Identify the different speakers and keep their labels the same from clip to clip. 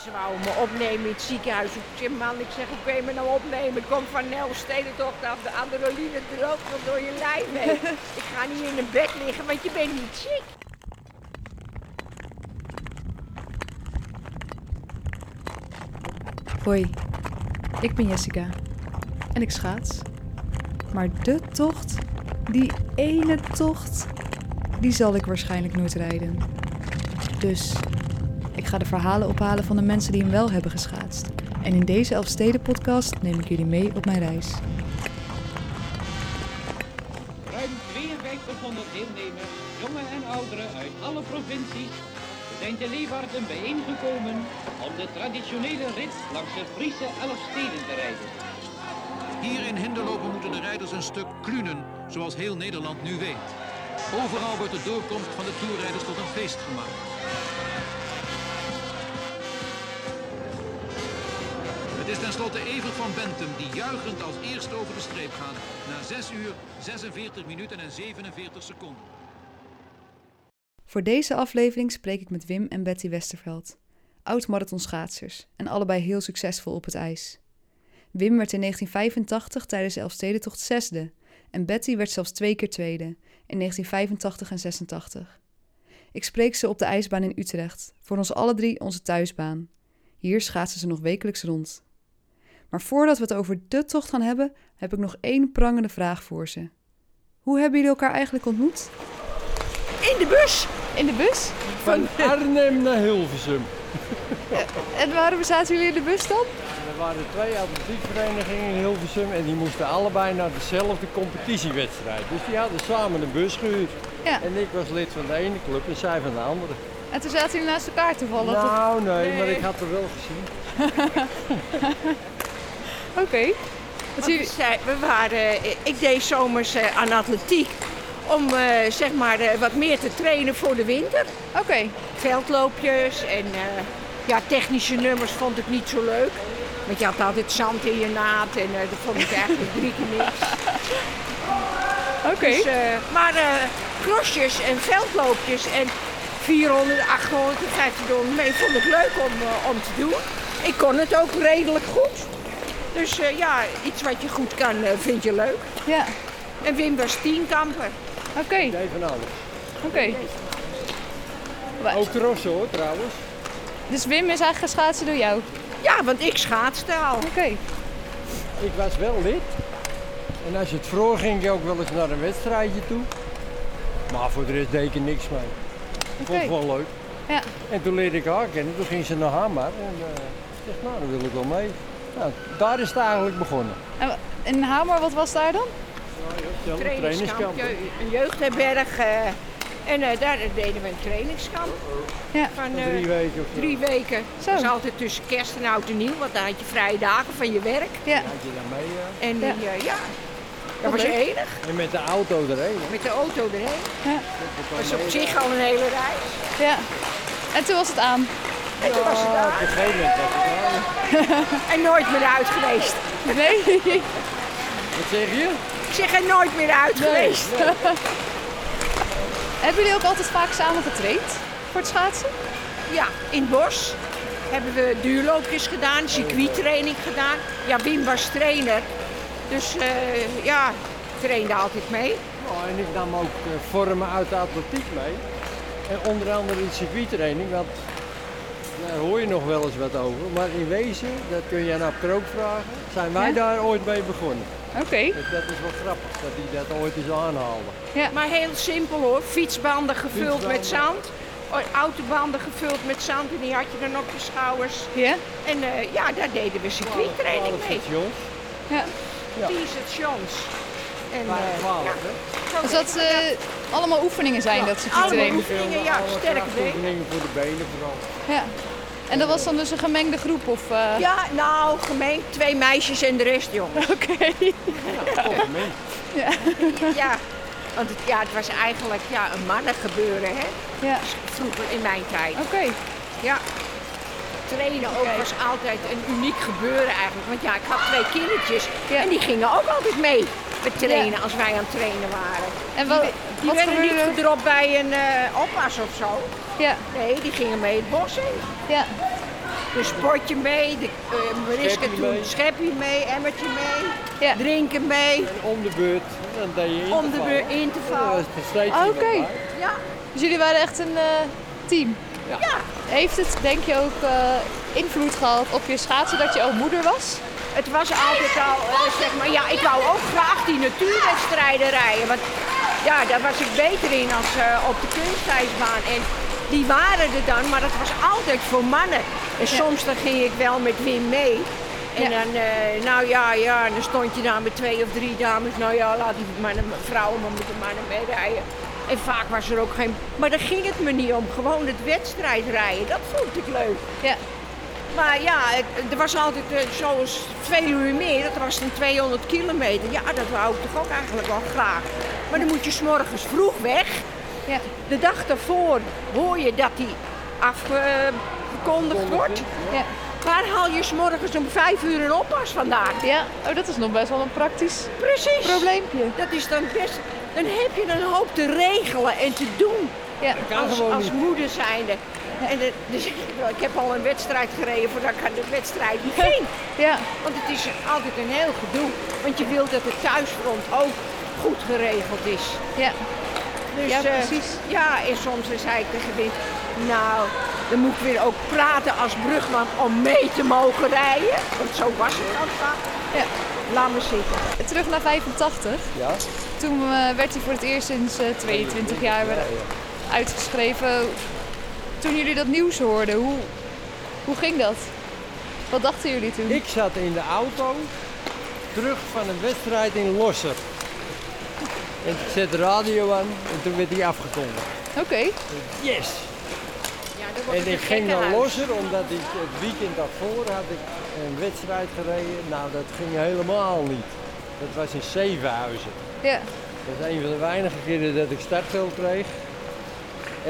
Speaker 1: Ze wouden me opnemen in het ziekenhuis. Ik zeg, man, ik zeg, hoe kun je me nou opnemen? Ik kom van Nelstedentocht af. De adrenaline droogt nog door je lijf heen. ik ga niet in een bed liggen, want je bent niet ziek.
Speaker 2: Hoi, ik ben Jessica en ik schaats. Maar de tocht, die ene tocht, die zal ik waarschijnlijk nooit rijden. Dus ik ga de verhalen ophalen van de mensen die hem wel hebben geschaatst. En in deze Elfsteden-podcast neem ik jullie mee op mijn reis.
Speaker 3: Ruim 5200 deelnemers, jongen en ouderen uit alle provincies, zijn te Leeuwarden bijeengekomen om de traditionele rit langs het Friese Elfsteden te rijden.
Speaker 4: Hier in Hinderlopen moeten de rijders een stuk klunen, zoals heel Nederland nu weet. Overal wordt de doorkomst van de toerrijders tot een feest gemaakt. Het is tenslotte Evert van Bentum die juichend als eerste over de streep gaat na 6 uur, 46 minuten en 47 seconden.
Speaker 2: Voor deze aflevering spreek ik met Wim en Betty Westerveld, oud-marathonschaatsers en allebei heel succesvol op het ijs. Wim werd in 1985 tijdens de Elfstedentocht zesde en Betty werd zelfs twee keer tweede, in 1985 en 86. Ik spreek ze op de ijsbaan in Utrecht, voor ons alle drie onze thuisbaan. Hier schaatsen ze nog wekelijks rond. Maar voordat we het over de tocht gaan hebben, heb ik nog één prangende vraag voor ze. Hoe hebben jullie elkaar eigenlijk ontmoet?
Speaker 1: In de bus!
Speaker 2: In de bus?
Speaker 5: Van Arnhem naar Hilversum.
Speaker 2: En waarom zaten jullie in de bus dan?
Speaker 5: Er waren twee atletiekverenigingen in Hilversum en die moesten allebei naar dezelfde competitiewedstrijd. Dus die hadden samen een bus gehuurd.
Speaker 2: Ja.
Speaker 5: En ik was lid van de ene club en zij van de andere.
Speaker 2: En toen zaten jullie naast elkaar toevallig. of-
Speaker 5: nou, nee, maar
Speaker 2: Nee.
Speaker 5: ik had er wel gezien.
Speaker 2: Oké. Dat
Speaker 1: Want
Speaker 2: jullie...
Speaker 1: we zei- we waren, ik deed zomers eh, aan atletiek. Om eh, zeg maar eh, wat meer te trainen voor de winter.
Speaker 2: Oké.
Speaker 1: Veldloopjes en eh, ja, technische nummers vond ik niet zo leuk. Want je had altijd zand in je naad en eh, dat vond ik eigenlijk drie keer niks.
Speaker 2: Oké.
Speaker 1: Dus, eh, maar eh crossjes en veldloopjes en 400, 800 en 1500 mee vond ik leuk om, eh, om te doen. Ik kon het ook redelijk goed. Dus eh, ja, iets wat je goed kan eh, vind je leuk.
Speaker 2: Ja.
Speaker 1: En Wim was tienkamper.
Speaker 2: Oké.
Speaker 5: Ik deed van alles.
Speaker 2: Oké.
Speaker 5: Ook crossen hoor, trouwens.
Speaker 2: Dus Wim is eigenlijk geschaatsen door jou. Oké.
Speaker 1: Ja, want ik schaatste al.
Speaker 5: Ik was wel lid. En als het vroeg ging ik ook wel eens naar een wedstrijdje toe. Maar voor de rest deed ik er niks mee. Ik vond het
Speaker 2: Oké.
Speaker 5: wel leuk.
Speaker 2: Ja.
Speaker 5: En toen leerde ik haar kennen, toen ging ze naar Hamar. En eh, ik zeg, nou, daar wil ik wel mee. Nou, daar is het eigenlijk begonnen.
Speaker 2: En Hamer, wat was daar dan?
Speaker 1: Trainingskamp, je- een jeugdherberg. eh, en eh, daar deden we een trainingskamp.
Speaker 2: Ja.
Speaker 1: Van eh,
Speaker 5: Drie weken of zo.
Speaker 1: drie weken.
Speaker 2: Zo.
Speaker 1: Dat is altijd tussen kerst en oud en nieuw, want dan had je vrije dagen van je werk.
Speaker 2: Ja.
Speaker 5: Had je daar mee, eh, ja.
Speaker 1: En
Speaker 2: Ja.
Speaker 1: ja, ja. dat was
Speaker 2: leuk.
Speaker 1: enig.
Speaker 5: En met de auto erheen. hè.
Speaker 1: Met de auto erheen.
Speaker 2: Ja.
Speaker 1: Dat is op zich al een hele reis.
Speaker 2: Ja. En toen was het aan.
Speaker 1: En toen was het
Speaker 5: Ah, op
Speaker 1: aan.
Speaker 5: een gegeven moment was het nou.
Speaker 1: En nooit meer uit geweest.
Speaker 2: Nee.
Speaker 5: Wat zeg je?
Speaker 1: Ik zeg er nooit meer uit geweest.
Speaker 2: Hebben jullie ook altijd vaak samen getraind voor het schaatsen?
Speaker 1: Ja, in het bos hebben we duurloopjes gedaan, circuittraining gedaan. Ja, Wim was trainer. Dus eh, ja, trainde altijd mee.
Speaker 5: Nou, en ik nam ook eh, vormen uit de atletiek mee. En onder andere in circuittraining, want daar hoor je nog wel eens wat over. Maar in wezen, dat kun je aan Ab Krook vragen, zijn wij
Speaker 2: Ja?
Speaker 5: daar ooit mee begonnen.
Speaker 2: Oké.
Speaker 5: Dus dat is wel grappig, dat die dat ooit eens aanhaalde.
Speaker 1: Maar heel simpel hoor, fietsbanden gevuld met
Speaker 5: Fietsbanden.
Speaker 1: zand. o- Autobanden gevuld met zand en die had je dan op je schouders.
Speaker 2: Ja.
Speaker 1: En eh, ja, daar deden we circuittraining mee.
Speaker 5: Jongens.
Speaker 2: Ja.
Speaker 5: ja.
Speaker 1: Die stations. En, eh, ja,
Speaker 5: Twaalf, hè?
Speaker 1: zo
Speaker 2: Dus
Speaker 1: deed
Speaker 2: dat eh, allemaal oefeningen zijn dat ze
Speaker 1: allemaal
Speaker 2: trainen.
Speaker 1: Oefeningen, ja,
Speaker 5: Alle
Speaker 1: sterk
Speaker 5: krachtoefeningen voor de benen vooral.
Speaker 2: Ja. En dat was dan dus een gemengde groep of? eh,
Speaker 1: Ja, nou, gemeen. Twee meisjes en de rest jongens.
Speaker 2: Oké.
Speaker 5: Compliment.
Speaker 1: ja. Want het, ja, het was eigenlijk ja, een mannengebeuren, hè?
Speaker 2: Ja.
Speaker 1: Vroeger in mijn tijd.
Speaker 2: Oké.
Speaker 1: Ja. Trainen ook was altijd een uniek gebeuren eigenlijk. Want ja, ik had twee kindertjes
Speaker 2: Ja.
Speaker 1: en die gingen ook altijd mee met trainen als wij aan het trainen waren.
Speaker 2: En wa-
Speaker 1: Die
Speaker 2: wat
Speaker 1: werden
Speaker 2: gebeurde
Speaker 1: niet
Speaker 2: er?
Speaker 1: gedropt bij een eh oppas of zo.
Speaker 2: Ja.
Speaker 1: Nee, die gingen mee het bos in.
Speaker 2: Ja.
Speaker 1: Dus potje mee, de eh menisca
Speaker 5: Schepje
Speaker 1: toen,
Speaker 5: mee.
Speaker 1: schepje mee, emmertje mee,
Speaker 2: Ja.
Speaker 1: drinken mee,
Speaker 5: En om de beurt, dan deed je
Speaker 1: om de beurt
Speaker 5: in.
Speaker 1: in te vallen.
Speaker 2: Ah, Oké.
Speaker 1: Ja,
Speaker 2: Dus jullie waren echt een eh, team.
Speaker 5: Ja.
Speaker 2: Heeft het denk je ook eh, invloed gehad op je schaatsen dat je ook moeder was?
Speaker 1: het was altijd al, eh, zeg maar, ja, ik wou ook graag die natuurwedstrijden rijden. Want ja, daar was ik beter in als eh, op de kunstijsbaan. En die waren er dan, maar dat was altijd voor mannen. En soms dan ging ik wel met Wim mee. En
Speaker 2: Ja.
Speaker 1: dan, eh, nou ja, ja, en dan stond je daar met twee of drie dames. Nou ja, laat die mannen, vrouwen maar met de mannen mee rijden. En vaak was er ook geen... Maar daar ging het me niet om. Gewoon het wedstrijd rijden, dat vond ik leuk.
Speaker 2: Ja.
Speaker 1: Maar ja, het- er was altijd eh, zoals veel uur meer, dat was dan 200 kilometer. Ja, dat wou ik toch ook eigenlijk wel graag. Maar dan moet je s'morgens vroeg weg.
Speaker 2: Ja.
Speaker 1: De dag daarvoor hoor je dat die afgekondigd wordt.
Speaker 2: Ja.
Speaker 1: Waar haal je s'morgens om vijf uur een oppas vandaan?
Speaker 2: ja. Oh, dat is nog best wel een praktisch
Speaker 1: Precies.
Speaker 2: probleempje.
Speaker 1: Dat is dan best... Dan heb je een hoop te regelen en te doen
Speaker 2: Ja.
Speaker 5: Kan
Speaker 1: als,
Speaker 5: gewoon
Speaker 1: als
Speaker 5: niet.
Speaker 1: moeder zijnde. En de- dus, ik ik heb al een wedstrijd gereden voordat ik aan de wedstrijd ging.
Speaker 2: Ja.
Speaker 1: Want het is altijd een heel gedoe. Want je wilt dat het thuisfront ook goed geregeld is.
Speaker 2: Ja.
Speaker 1: Dus,
Speaker 2: Ja,
Speaker 1: eh,
Speaker 2: precies.
Speaker 1: ja, en soms dan zei ik tegen Wim, nou, dan moet ik weer ook praten als brugman om mee te mogen rijden. Want zo was het dan vaak.
Speaker 2: Ja.
Speaker 1: Laat me zitten.
Speaker 2: Terug naar 85.
Speaker 5: Ja.
Speaker 2: Toen eh, werd hij voor het eerst sinds eh, 22 jaar weer uitgeschreven. Toen jullie dat nieuws hoorden, hoe, hoe ging dat? Wat dachten jullie toen?
Speaker 5: Ik zat in de auto terug van een wedstrijd in Losser. En ik zet de radio aan en toen werd hij afgekondigd.
Speaker 2: Oké.
Speaker 5: Yes!
Speaker 1: Ja, dan wordt
Speaker 5: En
Speaker 1: het
Speaker 5: ik
Speaker 1: een
Speaker 5: ging naar
Speaker 1: gekkenhuis.
Speaker 5: Losser omdat ik het weekend daarvoor had ik een wedstrijd gereden. Nou, dat ging helemaal niet. Dat was in Zevenhuizen.
Speaker 2: Ja.
Speaker 5: Dat is een van de weinige keren dat ik startgeld kreeg.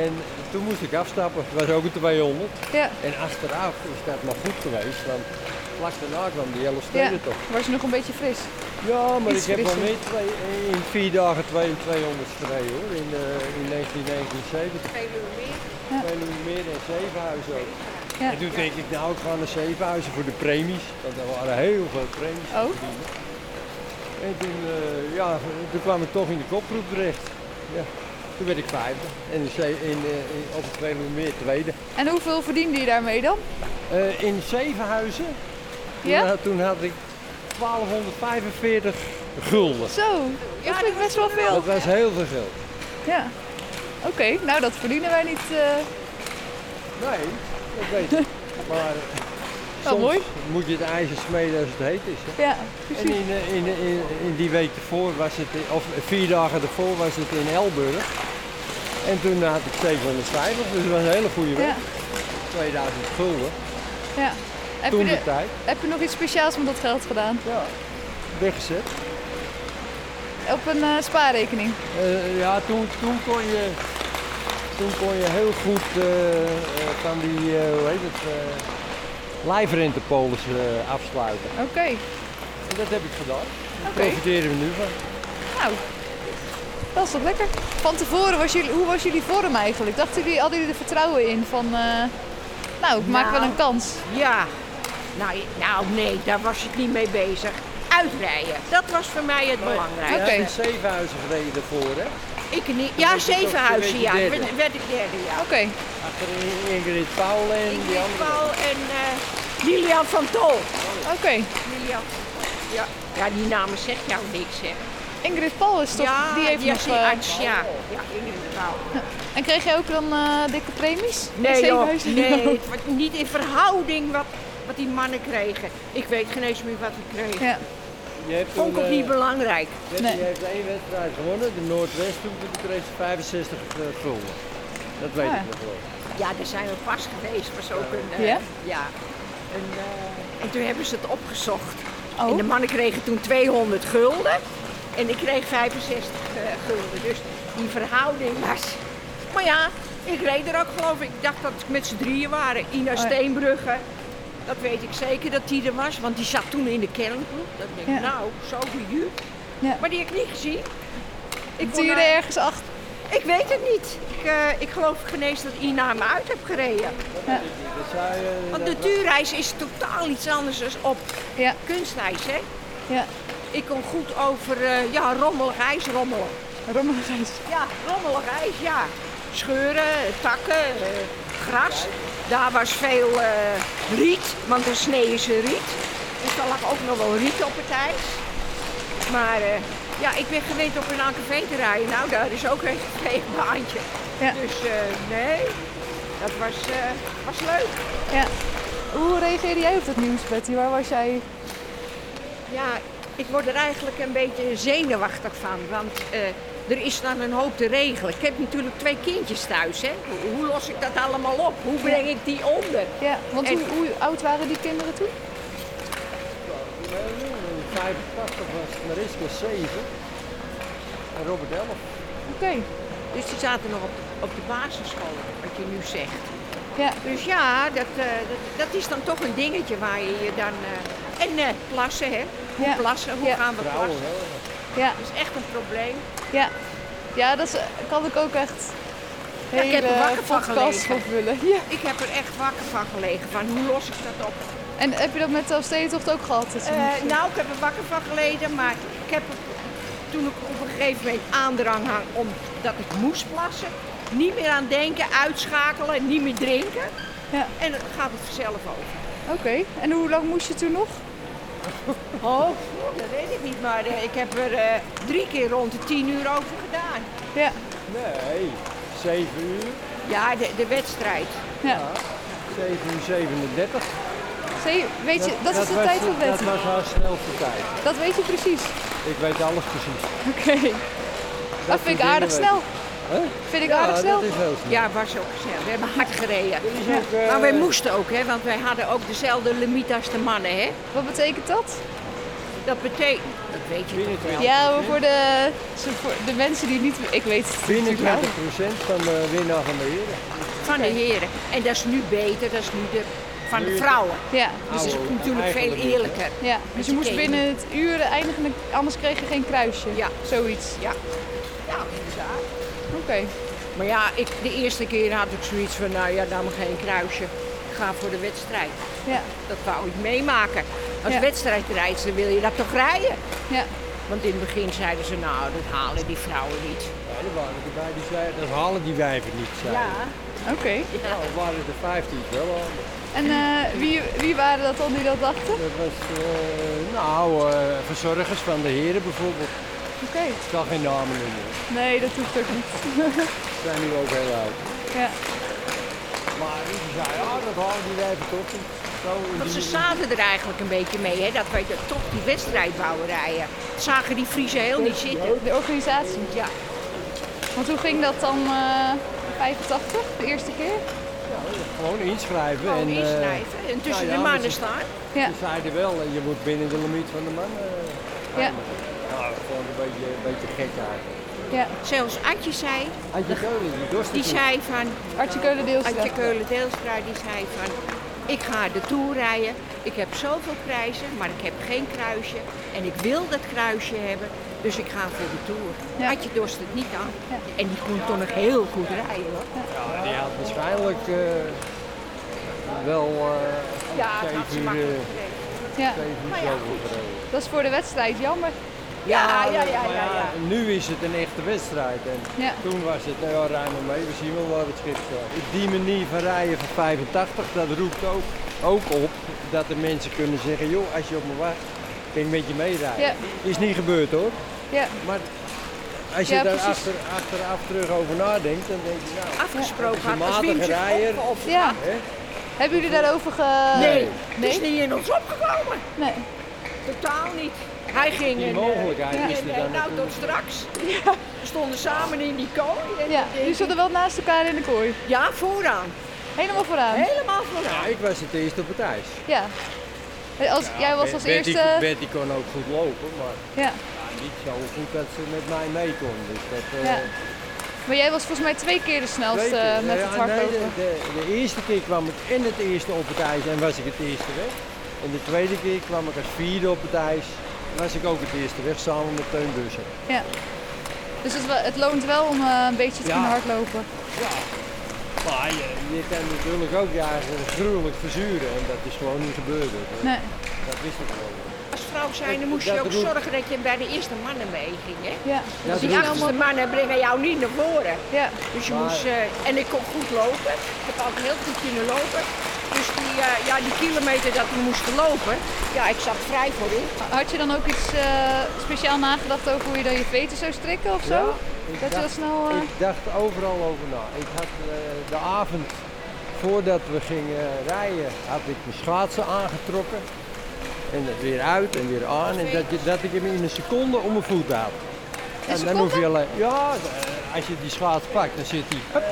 Speaker 5: En toen moest ik afstappen. Het was ook een 200.
Speaker 2: Ja.
Speaker 5: En achteraf is dat maar goed geweest, want vlak daarna kwam die hele
Speaker 2: ja.
Speaker 5: steden toch.
Speaker 2: Was je nog een beetje fris?
Speaker 5: Ja, maar
Speaker 2: Iets
Speaker 5: ik heb al
Speaker 2: frisser.
Speaker 5: meer twee, in vier dagen 2200 gereden hoor, in, eh, in 1979.
Speaker 1: Geen uur meer.
Speaker 2: Ja.
Speaker 5: En nu meer dan Zevenhuizen ook.
Speaker 2: Ja.
Speaker 5: En toen denk ik nou ik ga naar Zevenhuizen voor de premies, want er waren heel veel premies te
Speaker 2: Oh.
Speaker 5: verdienen. En toen, eh, ja, toen kwam ik toch in de kopgroep terecht. Ja. Toen werd ik vijfde en in, Zee- in, eh, in- op het Veluwemeer tweede.
Speaker 2: En hoeveel verdiende je daarmee dan?
Speaker 5: Eh, in Zevenhuizen Toen,
Speaker 2: Ja?
Speaker 5: had, toen had ik 1245 gulden.
Speaker 2: Zo, dat vind ik best wel veel.
Speaker 5: Dat was heel veel geld.
Speaker 2: Ja. Oké, nou dat verdienen wij niet. eh,
Speaker 5: Nee, dat weet ik. Maar eh,
Speaker 2: Wel
Speaker 5: soms
Speaker 2: mooi.
Speaker 5: moet je het ijzer smeden als het heet is. hè.
Speaker 2: ja,
Speaker 5: En
Speaker 2: precies.
Speaker 5: in, eh, in, in, in die week ervoor was het, in- of eh, vier dagen ervoor was het in Elburg. En toen had ik 750, dus dat was een hele goede week.
Speaker 2: Ja,
Speaker 5: 2000 gulden,
Speaker 2: ja. Heb, je
Speaker 5: toen de
Speaker 2: de-
Speaker 5: tijd.
Speaker 2: heb je nog iets speciaals met dat geld gedaan?
Speaker 5: Ja, weggezet.
Speaker 2: Op een eh, spaarrekening?
Speaker 5: Eh, ja, toen, toen, kon je, toen kon je heel goed eh, eh, van die, eh, hoe heet het, eh lijfrentepolis eh, afsluiten.
Speaker 2: Oké,
Speaker 5: En dat heb ik gedaan. Daar
Speaker 2: Oké.
Speaker 5: profiteren we nu van.
Speaker 2: nou. Dat is toch lekker? Van tevoren, was jullie, hoe was jullie vorm eigenlijk? Dachten jullie, hadden jullie er vertrouwen in van, eh, nou, ik maak
Speaker 1: Nou.
Speaker 2: wel een kans?
Speaker 1: Ja. Nou, je- nou nee, daar was ik niet mee bezig. Uitrijden, dat was voor mij het belangrijkste.
Speaker 2: Oké.
Speaker 5: Je hebt in Zevenhuizen gereden ervoor, hè?
Speaker 1: Ik niet. Ja,
Speaker 5: werd je toch- toen
Speaker 1: Zevenhuizen,
Speaker 5: werd je
Speaker 1: ja.
Speaker 5: derde.
Speaker 1: Werd, werd ik derde, ja.
Speaker 2: Oké,
Speaker 5: Achter Ingrid Paul
Speaker 1: Ik
Speaker 5: en die
Speaker 1: ben
Speaker 5: andere.
Speaker 1: Paul en eh, Lilian van Tol.
Speaker 2: oké.
Speaker 1: Lilian. Ja. ja, die namen zegt jou niks, hè?
Speaker 2: Ingrid Paul is toch,
Speaker 1: ja,
Speaker 2: die heeft nog...
Speaker 1: die
Speaker 2: eh,
Speaker 1: arts, ja. Ja, Ingrid Paul.
Speaker 2: en kreeg jij ook dan eh, dikke premies?
Speaker 1: Nee, joh,
Speaker 2: €7000?
Speaker 1: nee. het was Niet in verhouding wat, wat die mannen kregen. Ik weet geen eens meer wat ik kreeg.
Speaker 2: Ja,
Speaker 5: Je hebt
Speaker 1: Vond ik ook
Speaker 5: eh,
Speaker 1: niet belangrijk.
Speaker 5: Betty
Speaker 2: Nee.
Speaker 5: heeft één wedstrijd gewonnen, de Noordwest, toen kreeg ze 65 eh, gulden. Dat weet
Speaker 2: Ah.
Speaker 5: ik nog wel.
Speaker 1: Ja, daar zijn we pas geweest. was ook een... eh,
Speaker 2: Ja?
Speaker 1: Ja. Een, eh, en toen hebben ze het opgezocht.
Speaker 2: Oh.
Speaker 1: En de mannen kregen toen 200 gulden. En ik kreeg 65 eh, gulden. Dus die verhouding was... Maar ja, ik reed er ook geloof ik. Ik dacht dat het met z'n drieën waren. Ina
Speaker 2: Oh ja.
Speaker 1: Steenbrugge. Dat weet ik zeker dat die er was. Want die zat toen in de kerngroup. Dat denk ik,
Speaker 2: Ja.
Speaker 1: nou, zo duur.
Speaker 2: Ja.
Speaker 1: Maar die heb ik niet gezien. Ik
Speaker 2: duurde
Speaker 1: naar-
Speaker 2: ergens acht,
Speaker 1: Ik weet het niet. Ik, eh, ik geloof geen eens dat Ina me uit heb gereden.
Speaker 5: Dat zei je.
Speaker 1: Want natuurreis is totaal iets anders dan op
Speaker 2: Ja,
Speaker 1: kunstreis, hè?
Speaker 2: ja.
Speaker 1: Ik kon goed over eh, ja, rommelig ijs rommelen.
Speaker 2: Rommelig ijs.
Speaker 1: Ja, rommelig ijs, ja. Scheuren, takken, eh, gras. Daar was veel eh, riet, want er sneeuw ze riet. Dus daar lag ook nog wel riet op het ijs. Maar eh, ja, ik ben gewend op een AKV te rijden. Nou, daar is ook een veegbaantje.
Speaker 2: Ja.
Speaker 1: Dus eh, nee, dat was, eh, was leuk.
Speaker 2: Ja. Hoe reageerde jij op dat nieuws, Betty? Waar was jij?
Speaker 1: Ja, ik word er eigenlijk een beetje zenuwachtig van. Want eh, er is dan een hoop te regelen. Ik heb natuurlijk twee kindjes thuis. Hè? Hoe, hoe los ik dat allemaal op? Hoe breng ik die onder?
Speaker 2: Ja, want hoe,
Speaker 1: Echt.
Speaker 2: hoe oud waren die kinderen toen?
Speaker 5: In 85 was Mariska 7 en Robert 11.
Speaker 2: Oké.
Speaker 1: Dus die zaten nog op, op de basisschool, wat je nu zegt.
Speaker 2: Ja.
Speaker 1: Dus ja, dat, eh, dat, dat is dan toch een dingetje waar je je dan... eh, en eh, plassen, hè? Hoe
Speaker 2: Ja.
Speaker 1: plassen? Hoe
Speaker 2: Ja.
Speaker 1: gaan we
Speaker 5: Vrouwen,
Speaker 1: plassen?
Speaker 5: oh, hè?
Speaker 2: Ja,
Speaker 1: Dat is echt een probleem.
Speaker 2: ja. Ja, dat is, eh, kan ik ook echt
Speaker 1: Ja, ik heb er wakker van
Speaker 2: podcast
Speaker 1: gelegen.
Speaker 2: van vullen. Ja.
Speaker 1: Ik heb er echt wakker van gelegen. Van hoe los ik dat op?
Speaker 2: En heb je dat met de Elfstedentocht ook gehad? dat je
Speaker 1: Eh,
Speaker 2: moest-
Speaker 1: nou, ik heb er wakker van geleden, maar ik heb er- toen ik op een gegeven moment aandrang hang omdat ik moest plassen, niet meer aan denken, uitschakelen, niet meer drinken.
Speaker 2: Ja.
Speaker 1: En dan gaat het vanzelf over.
Speaker 2: Oké. En hoe lang moest je toen nog?
Speaker 1: Oh, dat weet ik niet, maar eh, ik heb er eh, drie keer rond de tien uur over gedaan.
Speaker 2: Ja.
Speaker 5: Nee, 7 uur.
Speaker 1: Ja, de, de wedstrijd.
Speaker 2: ja.
Speaker 5: 7 uur 37.
Speaker 2: Zee- weet je, dat, is de
Speaker 5: was
Speaker 2: tijd van
Speaker 5: Dat
Speaker 2: Betty.
Speaker 5: was haar snelste tijd.
Speaker 2: Dat weet je precies.
Speaker 5: Ik weet alles precies.
Speaker 2: Oké. Dat,
Speaker 5: soort
Speaker 2: vind ik
Speaker 5: dingen
Speaker 2: aardig
Speaker 5: weet
Speaker 2: snel.
Speaker 5: ik. Hè?
Speaker 2: Vind ik
Speaker 5: Ja,
Speaker 2: aardig snel.
Speaker 5: Ah, dat is heel snel.
Speaker 1: Ja, was ook snel. We hebben hard gereden.
Speaker 5: Dat is ook,
Speaker 2: Nou,
Speaker 5: eh,
Speaker 1: Maar wij moesten ook, hè, want wij hadden ook dezelfde limiet als de mannen. Hè.
Speaker 2: Wat betekent dat?
Speaker 1: Dat betekent, dat weet je toch wel.
Speaker 2: Ja, maar voor de, zo voor de mensen die niet... Ik weet het
Speaker 5: Binnen
Speaker 2: natuurlijk wel.
Speaker 5: 20 van de winnaar van de heren.
Speaker 1: Van de heren. En dat is nu beter, dat is nu de, van de vrouwen.
Speaker 2: Ja,
Speaker 1: Dus het is
Speaker 5: Oude,
Speaker 1: natuurlijk veel
Speaker 5: eigenlijk niet,
Speaker 1: eerlijker.
Speaker 2: ja. Dus je moest
Speaker 1: je
Speaker 2: binnen het uur eindigen, anders kreeg je geen kruisje.
Speaker 1: Ja.
Speaker 2: Zoiets.
Speaker 1: Ja, inderdaad.
Speaker 2: Oké.
Speaker 1: Maar ja, ik, de eerste keer had ik zoiets van, nou ja, dan maar geen kruisje. Ik ga voor de wedstrijd.
Speaker 2: Ja.
Speaker 1: Dat wou ik meemaken. Als
Speaker 2: Ja.
Speaker 1: wedstrijdrijdster wil je dat toch rijden?
Speaker 2: Ja.
Speaker 1: Want in het begin zeiden ze, nou, dat halen die vrouwen niet.
Speaker 5: Ja, er waren er bij die zeiden, dat halen die wijven niet. Zeiden.
Speaker 2: Oké.
Speaker 5: Nou, er waren er 15 wel al.
Speaker 2: En eh, wie, wie waren dat dan die dat dachten?
Speaker 5: Dat was, eh, nou, eh, verzorgers van de heren bijvoorbeeld.
Speaker 2: Oké.
Speaker 5: Ik kan geen namen noemen.
Speaker 2: Nee, dat hoeft ook niet.
Speaker 5: Ze zijn nu ook heel oud.
Speaker 2: ja.
Speaker 5: Maar die zeiden, ja, dat halen die wijven toch niet. Zo, in
Speaker 1: Want
Speaker 5: die-
Speaker 1: ze zaten er eigenlijk een beetje mee, hè, dat wij dat toch die wedstrijd wouden rijden. Dat Zagen die Friese heel niet zitten.
Speaker 2: De organisatie.
Speaker 1: Ja,
Speaker 2: Want hoe ging dat dan? eh 85, de eerste keer?
Speaker 5: Gewoon inschrijven.
Speaker 1: gewoon
Speaker 5: en, eh,
Speaker 1: inschrijven. En tussen
Speaker 5: nou ja,
Speaker 1: de
Speaker 5: maar
Speaker 1: mannen
Speaker 5: ze-
Speaker 1: staan.
Speaker 2: Ja.
Speaker 5: Ze zeiden wel, eh, je moet binnen de limiet van de man. eh,
Speaker 2: Ja.
Speaker 5: gaan. Nou, dat is gewoon een beetje, een beetje gek eigenlijk.
Speaker 2: Ja.
Speaker 1: Zelfs Adje zei,
Speaker 5: Had je keuze, die dorst
Speaker 1: die
Speaker 5: het niet.
Speaker 1: zei van,
Speaker 2: Artje Keulen
Speaker 1: Antje
Speaker 2: Deelstra.
Speaker 1: Keulen-Deelstra die zei van, ik ga de Tour rijden, ik heb zoveel prijzen, maar ik heb geen kruisje en ik wil dat kruisje hebben, dus ik ga voor de Tour.
Speaker 2: Ja.
Speaker 1: Had je dorst het niet aan en die kon toch nog heel goed rijden hoor.
Speaker 5: Ja, die had waarschijnlijk eh, wel eh
Speaker 1: Ja, dat had ze
Speaker 5: zeven uur,
Speaker 1: makkelijk
Speaker 5: eh,
Speaker 1: gereden.
Speaker 2: Ja.
Speaker 5: zeven uur
Speaker 1: Maar ja,
Speaker 5: zo
Speaker 1: goed.
Speaker 5: gereden.
Speaker 2: Dat is voor de wedstrijd jammer.
Speaker 1: Ah, Ja, ja, ja,
Speaker 5: maar
Speaker 1: ja, ja.
Speaker 5: Nu is het een echte wedstrijd. En
Speaker 2: Ja.
Speaker 5: Toen was het, nou ja, ruim maar mee, we zien wel waar het schip staat. Die manier van rijden van 85, dat roept ook, ook op dat de mensen kunnen zeggen, joh, als je op me wacht, kan ik met je meerijden.
Speaker 2: Ja.
Speaker 5: Is niet gebeurd hoor.
Speaker 2: Ja.
Speaker 5: Maar als je
Speaker 2: Ja,
Speaker 5: daar
Speaker 2: precies.
Speaker 5: achter, achteraf terug over nadenkt, dan denk je, nou,
Speaker 1: Afgesproken
Speaker 5: Ja,
Speaker 1: had als
Speaker 5: matige
Speaker 1: Wim zich
Speaker 5: rijder.
Speaker 1: opgeofferd.
Speaker 2: Ja.
Speaker 5: Hè?
Speaker 2: Hebben jullie daarover ge...
Speaker 1: Nee,
Speaker 2: Nee?
Speaker 1: het is niet in ons opgekomen.
Speaker 2: Nee.
Speaker 1: Totaal niet. Hij ging...
Speaker 5: die
Speaker 1: en, eh,
Speaker 5: mogelijkheid
Speaker 1: en,
Speaker 5: is er
Speaker 1: eh,
Speaker 5: dan
Speaker 1: nou, tot
Speaker 5: natuurlijk.
Speaker 1: straks. We stonden samen in die kooi. en
Speaker 2: Ja, dus
Speaker 1: ik denk,
Speaker 2: jullie stonden wel naast elkaar in de kooi.
Speaker 1: Ja, vooraan.
Speaker 2: Helemaal vooraan.
Speaker 1: Helemaal vooraan.
Speaker 5: Ja, ik was het eerst op het ijs.
Speaker 2: Ja. Als, jij was als
Speaker 5: Betty-
Speaker 2: eerste...
Speaker 5: Betty kon ook goed lopen, maar
Speaker 2: Ja.
Speaker 5: ja, niet zo goed dat ze met mij mee kon. Dus dat, eh,
Speaker 2: Ja. Maar jij was volgens mij twee keer de snelste eh,
Speaker 5: weet je,
Speaker 2: met
Speaker 5: ja,
Speaker 2: het hardlopen.
Speaker 5: nee, de, de, de eerste keer kwam ik en het eerste op het ijs en was ik het eerste weg. En de tweede keer kwam ik als vierde op het ijs. Was ik ook het eerste weg samen met Teun Bussen.
Speaker 2: Ja. Dus het, wel- het loont wel om eh, een beetje te
Speaker 5: Ja.
Speaker 2: kunnen hardlopen.
Speaker 5: Ja. Maar je, je kan natuurlijk ook je eigen gruwelijk verzuren en dat is gewoon niet gebeurd. hoor.
Speaker 2: Nee.
Speaker 5: Dat wist ik gewoon.
Speaker 1: Als vrouw zijnde
Speaker 5: Dat-
Speaker 1: moest
Speaker 5: dat
Speaker 1: je ook
Speaker 5: bedoel-
Speaker 1: zorgen dat je bij de eerste mannen meeging. Hè?
Speaker 2: Ja.
Speaker 5: Ja,
Speaker 1: Die
Speaker 5: bedoel-
Speaker 1: achtste mannen brengen jou niet naar voren.
Speaker 2: Ja.
Speaker 1: Dus je
Speaker 5: Maar-
Speaker 1: moest, eh, en ik kon goed lopen. Ik heb altijd heel goed kunnen lopen. Dus die, eh, ja, die kilometer dat we moesten lopen, ja, ik zat vrij voorin.
Speaker 2: Had je dan ook iets eh, speciaal nagedacht over hoe je dan je veten zou strikken of zo?
Speaker 5: ik
Speaker 2: dat je dat
Speaker 5: dacht-
Speaker 2: snel... eh,
Speaker 5: Ik dacht overal over na. Ik had eh, de avond voordat we gingen rijden, had ik mijn schaatsen aangetrokken. En het weer uit en weer aan. En dat, je, dat ik hem in een seconde om mijn voet had. En dan
Speaker 2: seconde?
Speaker 5: hoef je alleen. Ja, eh, als je die schaats pakt, dan zit hij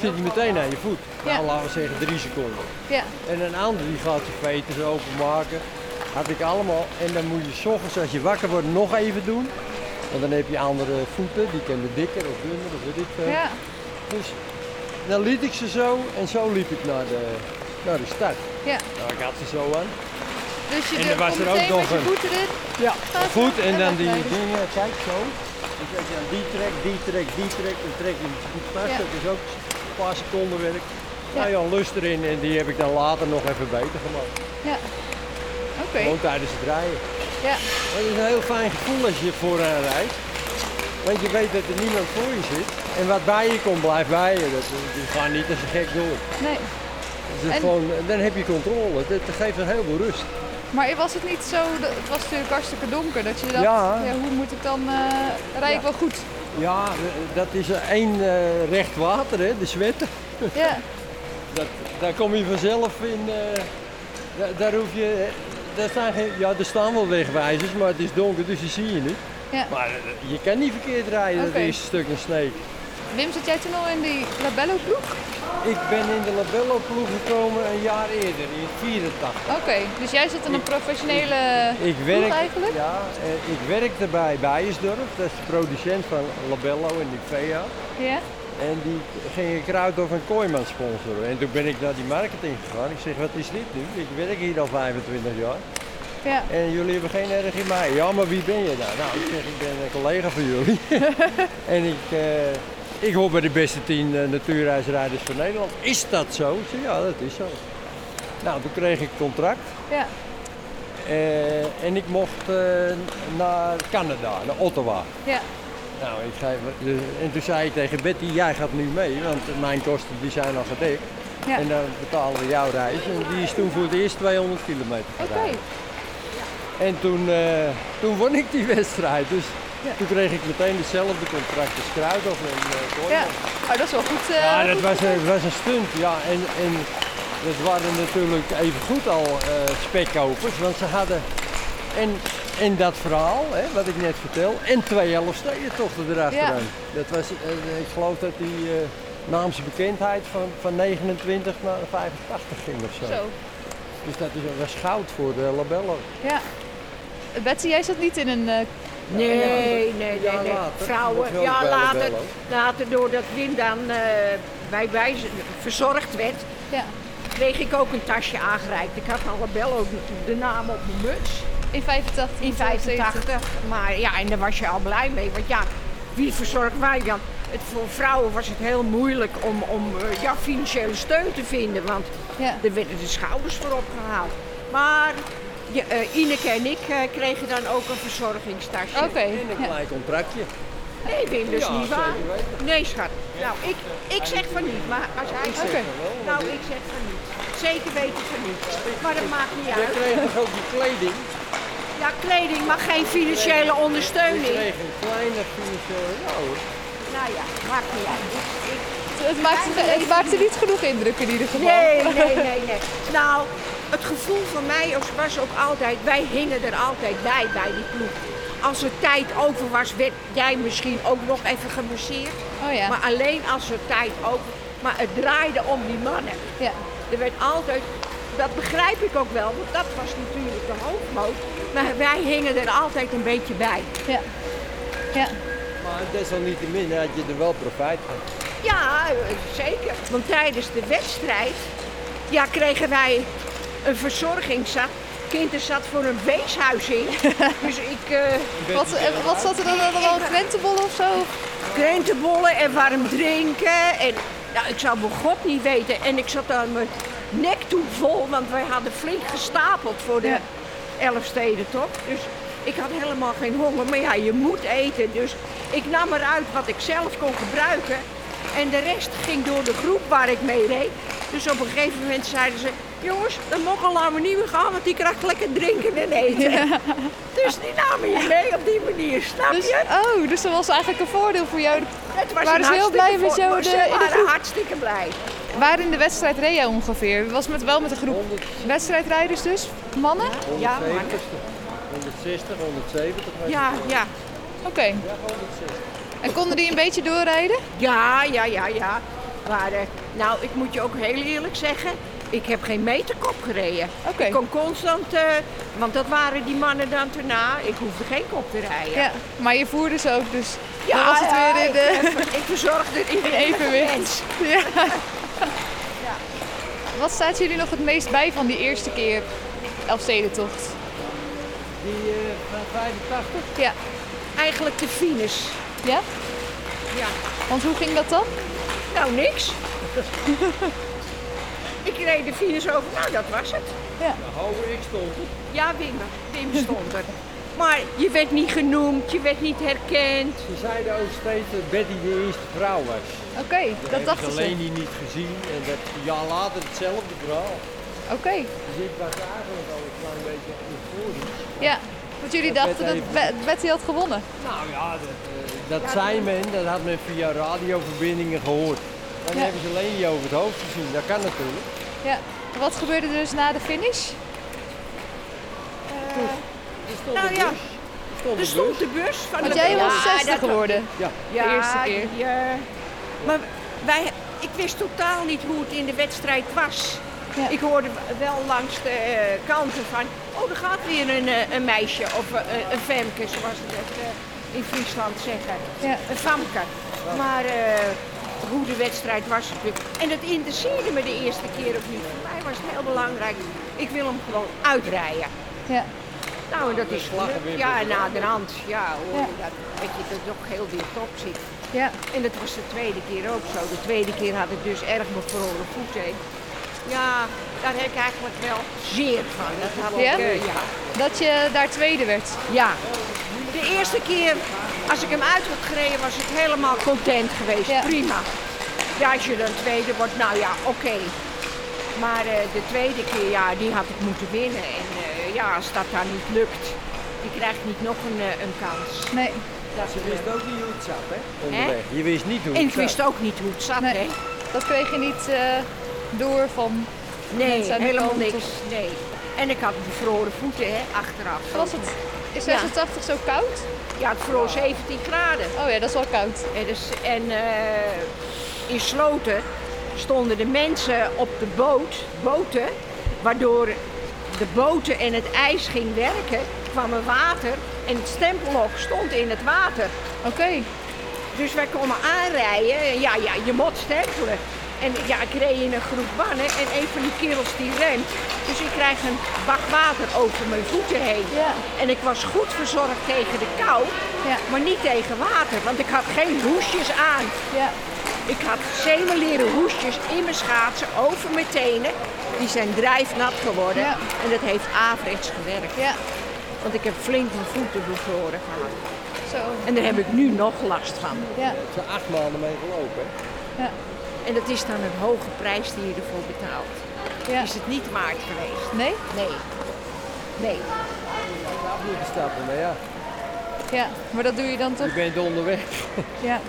Speaker 5: zit die meteen aan je voet.
Speaker 2: Ja.
Speaker 5: Nou, laten we zeggen drie seconden.
Speaker 2: Ja.
Speaker 5: En een ander die gaat zijn veters openmaken. Had ik allemaal. En dan moet je 's ochtends als je wakker wordt nog even doen. Want dan heb je andere voeten, die kunnen dikker of dunner of weet ik veel.
Speaker 2: Ja.
Speaker 5: Dus dan liet ik ze zo en zo liep ik naar de, naar de start.
Speaker 2: Ja.
Speaker 5: Nou, ik had ze zo aan.
Speaker 2: Dus je
Speaker 5: En er
Speaker 2: durft-
Speaker 5: was
Speaker 2: komt
Speaker 5: er ook
Speaker 2: meteen met
Speaker 5: nog
Speaker 2: je
Speaker 5: een.
Speaker 2: voeten erin.
Speaker 5: Ja,
Speaker 2: Gaat
Speaker 5: goed.
Speaker 2: zo.
Speaker 5: En
Speaker 2: En
Speaker 5: dan die
Speaker 2: wegrijden.
Speaker 5: dingen, kijk zo. Dan trek je aan die trek, die trek, die trek. Dan trek je het goed vast.
Speaker 2: Ja.
Speaker 5: Dat is ook een paar seconden werk. Nou
Speaker 2: Ja.
Speaker 5: ja, lust erin en die heb ik dan later nog even beter gemaakt.
Speaker 2: Ja. Oké.
Speaker 5: Gewoon tijdens het rijden.
Speaker 2: Ja.
Speaker 5: Het is een heel fijn gevoel als je vooraan rijdt. Want je weet dat er niemand voor je zit. En wat bij je komt, blijft bij je. Dat, die gaan niet als een gek door.
Speaker 2: Nee.
Speaker 5: Dus het
Speaker 2: En-
Speaker 5: gewoon, dan heb je controle. Dat geeft een heleboel rust.
Speaker 2: Maar was het niet zo, dat- het was natuurlijk hartstikke donker, dat je dacht, ja.
Speaker 5: Ja.
Speaker 2: hoe moet ik dan, eh, rijd ik wel goed?
Speaker 5: Ja, eh, dat is één eh, recht water, hè, de zwetten.
Speaker 2: Ja,
Speaker 5: Dat, daar kom je vanzelf in. eh, da- daar hoef je. eh, Daar staan geen, ja, er staan wel wegwijzers, maar het is donker, dus die zie je niet.
Speaker 2: Ja.
Speaker 5: Maar eh, je kan niet verkeerd rijden,
Speaker 2: Oké.
Speaker 5: dat is stuk en sneek.
Speaker 2: Wim, zat jij toen al in die labello-ploeg?
Speaker 5: Ik ben in de Labello-ploeg gekomen een jaar eerder, in 84.
Speaker 2: Oké, dus jij zat in een professionele
Speaker 5: Ik
Speaker 2: ploeg
Speaker 5: werk,
Speaker 2: eigenlijk?
Speaker 5: ja, eh, ik werkte bij Bijersdorf, dat is de producent van Labello en Nivea.
Speaker 2: Ja?
Speaker 5: En die gingen Kruidhof en Kooiman sponsoren. En toen ben ik naar die marketing gegaan. Ik zeg, wat is dit nu? Ik werk hier al 25 jaar.
Speaker 2: Ja.
Speaker 5: En jullie hebben geen erg in mij. Ja, maar wie ben je dan? Nou, ik zeg, ik ben een collega van jullie. en ik, eh, ik hoor bij de beste tien eh, natuurreisrijders van Nederland. Is dat zo? Ik zeg, ja, dat is zo. Nou, toen kreeg ik contract.
Speaker 2: Ja.
Speaker 5: Eh, en ik mocht eh, naar Canada, naar Ottawa.
Speaker 2: Ja.
Speaker 5: Nou, ik zei, eh," en toen zei ik tegen Betty, jij gaat nu mee, want mijn kosten die zijn al gedekt.
Speaker 2: Ja.
Speaker 5: En dan betalen we jouw reis. En die is toen voor het eerst 200 kilometer
Speaker 2: Oké,
Speaker 5: gedaan. En toen, eh, toen won ik die wedstrijd. Dus
Speaker 2: Ja.
Speaker 5: toen kreeg ik meteen hetzelfde contract als Kruidhoff en eh Kooijman.
Speaker 2: ja. Oh, dat is wel goed. eh,
Speaker 5: Ja, dat
Speaker 2: goed
Speaker 5: was een,
Speaker 2: gebeurd.
Speaker 5: was een stunt. Ja, en, en dat waren natuurlijk evengoed al eh, spekkopers, want ze hadden en, en dat verhaal, hè, wat ik net vertel, en twee Elfstedentochten erachteraan. Dat was, eh, ik geloof dat die eh naamse bekendheid van, van 29 naar 85 ging of zo.
Speaker 2: Zo,
Speaker 5: Dus dat is, was goud voor de Labello.
Speaker 2: ja. Betsy, jij zat niet in een... eh,
Speaker 1: Nee, nee, nee.
Speaker 5: Ja,
Speaker 1: nee.
Speaker 5: later. Dat
Speaker 1: Vrouwen,
Speaker 5: wel
Speaker 1: ja,
Speaker 5: bij
Speaker 1: later,
Speaker 5: Labello.
Speaker 1: later, doordat Wim dan eh, bij wij verzorgd werd,
Speaker 2: ja.
Speaker 1: kreeg ik ook een tasje aangereikt. Ik had al labello de naam op mijn muts.
Speaker 2: In 85.
Speaker 1: In 85. Maar ja, en daar was je al blij mee. Want ja, wie verzorgt mij dan? Het, voor vrouwen was het heel moeilijk om, om eh, ja, financiële steun te vinden. Want
Speaker 2: Ja.
Speaker 1: er werden de schouders voor opgehaald. Maar ja, eh, Ineke en ik eh, kregen dan ook een verzorgingstasje.
Speaker 2: Oké,
Speaker 5: En een
Speaker 2: ja.
Speaker 5: klein contractje.
Speaker 1: Nee, Wim, dat is
Speaker 5: Ja,
Speaker 1: niet waar.
Speaker 5: zeker weten.
Speaker 1: Nee, schat. Nou, ik, ik zeg van niet. Maar als hij zegt...
Speaker 2: Oké.
Speaker 1: Nou, ik zeg van niet. Zeker weten van niet. Maar dat maakt niet
Speaker 5: Jij
Speaker 1: uit.
Speaker 5: kreeg toch ook die kleding?
Speaker 1: Ja, kleding mag geen financiële
Speaker 5: Je
Speaker 1: ondersteuning.
Speaker 5: kreeg een kleine financiële... Ja hoor.
Speaker 1: Nou ja, maakt niet uit. Ik- ik-
Speaker 2: Het maakte, het maakte niet genoeg indruk in ieder geval.
Speaker 1: Nee, nee, nee, nee. Nou, het gevoel van mij was- was ook altijd, wij hingen er altijd bij, bij die ploeg. Als er tijd over was, werd jij misschien ook nog even gemasseerd.
Speaker 2: Oh ja.
Speaker 1: Maar alleen als er tijd over Maar het draaide om die mannen.
Speaker 2: ja.
Speaker 1: Er werd altijd, dat begrijp ik ook wel, want dat was natuurlijk de hoofdmoot. Maar wij hingen er altijd een beetje bij.
Speaker 2: Ja. Ja.
Speaker 5: Maar desalniettemin had je er wel profijt van.
Speaker 1: Ja, eh, zeker. Want tijdens de wedstrijd ja, kregen wij een verzorgingszak. kind en zat voor een weeshuizing. dus ik eh
Speaker 2: Wat, en wat zat er dan allemaal? Krentenbollen of zo?
Speaker 1: krentenbollen en warm drinken. En, nou, ik zou mijn god niet weten. En ik zat aan mijn nek toe vol, want wij hadden flink gestapeld voor de
Speaker 2: Ja.
Speaker 1: Elfstedentop. Dus ik had helemaal geen honger. Maar ja, je moet eten. Dus ik nam eruit wat ik zelf kon gebruiken. En de rest ging door de groep waar ik mee reed. Dus op een gegeven moment zeiden ze... Jongens, de mokkel laten we niet meer gaan, want die krijgt lekker drinken en eten. Dus die namen je mee op die manier, snap
Speaker 2: Dus,
Speaker 1: je?
Speaker 2: oh, dus dat was eigenlijk een voordeel voor jou.
Speaker 1: Het was
Speaker 2: Waren
Speaker 1: een
Speaker 2: ze heel blij
Speaker 1: hartstikke
Speaker 2: met jou
Speaker 1: vo-
Speaker 2: de-
Speaker 1: Ze
Speaker 2: in de
Speaker 1: waren
Speaker 2: groep?
Speaker 1: hartstikke blij.
Speaker 2: Waar in de wedstrijd reed jij ongeveer? Was met, wel met een groep wedstrijdrijders dus? Mannen?
Speaker 1: Ja, maar-
Speaker 5: 160, 170.
Speaker 1: ja, ja.
Speaker 2: Oké. En konden die een beetje doorrijden?
Speaker 1: Ja, ja, ja, ja. Maar eh, nou, ik moet je ook heel eerlijk zeggen, ik heb geen meterkop gereden.
Speaker 2: Oké.
Speaker 1: Ik kon constant, eh, want dat waren die mannen dan daarna, ik hoefde geen kop te rijden.
Speaker 2: Ja. Maar je voerde ze ook, dus
Speaker 1: Ja,
Speaker 2: dan was het
Speaker 1: ja,
Speaker 2: weer in
Speaker 1: ik,
Speaker 2: de...
Speaker 1: eh, ver- ik verzorgde iedereen
Speaker 2: evenwicht. Ja. Wat staat jullie nog het meest bij van die eerste keer Elfstedentocht?
Speaker 5: Die eh, van 85?
Speaker 2: Ja.
Speaker 1: Eigenlijk de finish.
Speaker 2: Ja?
Speaker 1: Ja.
Speaker 2: Want hoe ging dat dan?
Speaker 1: Nou, niks. ik reed de finish over, nou dat was het.
Speaker 5: Hou ik stond.
Speaker 1: Ja, Wim, Wim stond er. Maar je werd niet genoemd, je werd niet herkend.
Speaker 5: Ze zeiden ook steeds dat Betty de eerste vrouw was.
Speaker 2: Oké, dat dachten
Speaker 5: ze.
Speaker 2: ze.
Speaker 5: alleen die niet gezien en dat ja later hetzelfde verhaal.
Speaker 2: Oké,
Speaker 5: Dus ik was eigenlijk al een klein beetje euforisch.
Speaker 2: ja. Want jullie
Speaker 5: Dat
Speaker 2: dachten dat
Speaker 5: Betty
Speaker 2: Be- Betty had gewonnen.
Speaker 5: Nou ja, dat, eh, dat zei men, dat had men via radioverbindingen gehoord. Dan
Speaker 2: Ja.
Speaker 5: hebben ze alleen je over het hoofd gezien, dat kan natuurlijk.
Speaker 2: Ja. Wat gebeurde er dus na de finish?
Speaker 5: Er stond
Speaker 1: Nou
Speaker 5: een
Speaker 1: ja,
Speaker 5: bus. Er stond
Speaker 1: er
Speaker 5: een
Speaker 1: stond
Speaker 5: bus.
Speaker 1: de bus van
Speaker 2: Want
Speaker 1: de
Speaker 2: jij
Speaker 1: Ja,
Speaker 2: was zesde
Speaker 1: dat-
Speaker 2: geworden.
Speaker 1: Ja,
Speaker 2: de eerste keer.
Speaker 1: die, eh, maar wij, ik wist totaal niet hoe het in de wedstrijd was.
Speaker 2: Ja.
Speaker 1: Ik hoorde wel langs de eh, kanten van, oh, er gaat weer een, eh, een meisje of eh, een femke, zoals ze dat eh, in Friesland zeggen.
Speaker 2: Ja.
Speaker 1: Een famke. Maar eh, hoe de wedstrijd was natuurlijk. En dat interesseerde me de eerste keer of niet. Voor mij was het heel belangrijk. Ik wil hem gewoon uitrijden.
Speaker 2: Ja.
Speaker 1: Nou, en dat is
Speaker 5: vlaggen
Speaker 1: gelukt.
Speaker 5: weer
Speaker 1: Ja,
Speaker 5: boven.
Speaker 1: na de hand. Ja, hoor
Speaker 2: Ja.
Speaker 1: je dat. Dat je dat toch heel weer top zit.
Speaker 2: Ja.
Speaker 1: En dat was de tweede keer ook zo. De tweede keer had ik dus erg bevroren voeten. Ja, daar heb ik eigenlijk wel zeer van. Dat had
Speaker 2: Ja?
Speaker 1: ik, eh, ja.
Speaker 2: Dat je daar tweede werd.
Speaker 1: ja. De eerste keer, als ik hem uit had gereden, was ik helemaal content geweest.
Speaker 2: Ja.
Speaker 1: Prima. Ja, als je dan tweede wordt, nou ja, oké. Maar eh, de tweede keer, ja, die had ik moeten winnen. En eh, ja, als dat dan niet lukt, die krijgt niet nog een, eh, een kans.
Speaker 2: Nee.
Speaker 1: Dat,
Speaker 5: Je
Speaker 1: eh,
Speaker 5: wist ook niet hoe het zat, hè? Onderweg. Je wist niet hoe
Speaker 1: en
Speaker 5: het
Speaker 1: ik
Speaker 5: zat.
Speaker 1: wist ook niet hoe het zat,
Speaker 2: Nee.
Speaker 1: hè.
Speaker 2: Dat kreeg je niet eh, door van...
Speaker 1: Nee,
Speaker 2: Mensen aan de
Speaker 1: helemaal
Speaker 2: kant
Speaker 1: niks.
Speaker 2: of-
Speaker 1: Nee. En ik had bevroren voeten, hè, achteraf.
Speaker 2: Was het... Is 86 zo koud?
Speaker 1: Ja, het vroor 17 graden.
Speaker 2: Oh ja, dat is wel koud.
Speaker 1: En, dus, en eh, in Sloten stonden de mensen op de boot, boten, waardoor de boten en het ijs ging werken, kwam er water en het stempelhok stond in het water.
Speaker 2: Oké.
Speaker 1: Dus wij komen aanrijden. En Ja, ja, je moet stempelen. En ja, ik reed in een groep mannen en een van die kerels die remt. Dus ik krijg een bak water over mijn voeten heen.
Speaker 2: Ja.
Speaker 1: En ik was goed verzorgd tegen de kou,
Speaker 2: Ja.
Speaker 1: maar niet tegen water. Want ik had geen hoesjes aan.
Speaker 2: Ja.
Speaker 1: Ik had zemeleren hoesjes in mijn schaatsen over mijn tenen. Die zijn drijfnat geworden.
Speaker 2: Ja.
Speaker 1: En dat heeft averechts gewerkt.
Speaker 2: Ja.
Speaker 1: Want ik heb flink mijn voeten bevroren gehad.
Speaker 2: Zo.
Speaker 1: En daar heb ik nu nog last van.
Speaker 2: Ja.
Speaker 5: Ze acht maanden mee gelopen, hè?
Speaker 1: En dat is dan een hoge prijs die je ervoor betaalt.
Speaker 2: Ja.
Speaker 1: Is het niet waard geweest?
Speaker 2: Nee?
Speaker 1: Nee. Nee.
Speaker 5: Af moeten stappen, maar ja,
Speaker 2: Ja. Maar dat doe je dan
Speaker 5: je
Speaker 2: toch?
Speaker 5: bent onderweg.
Speaker 2: Ja.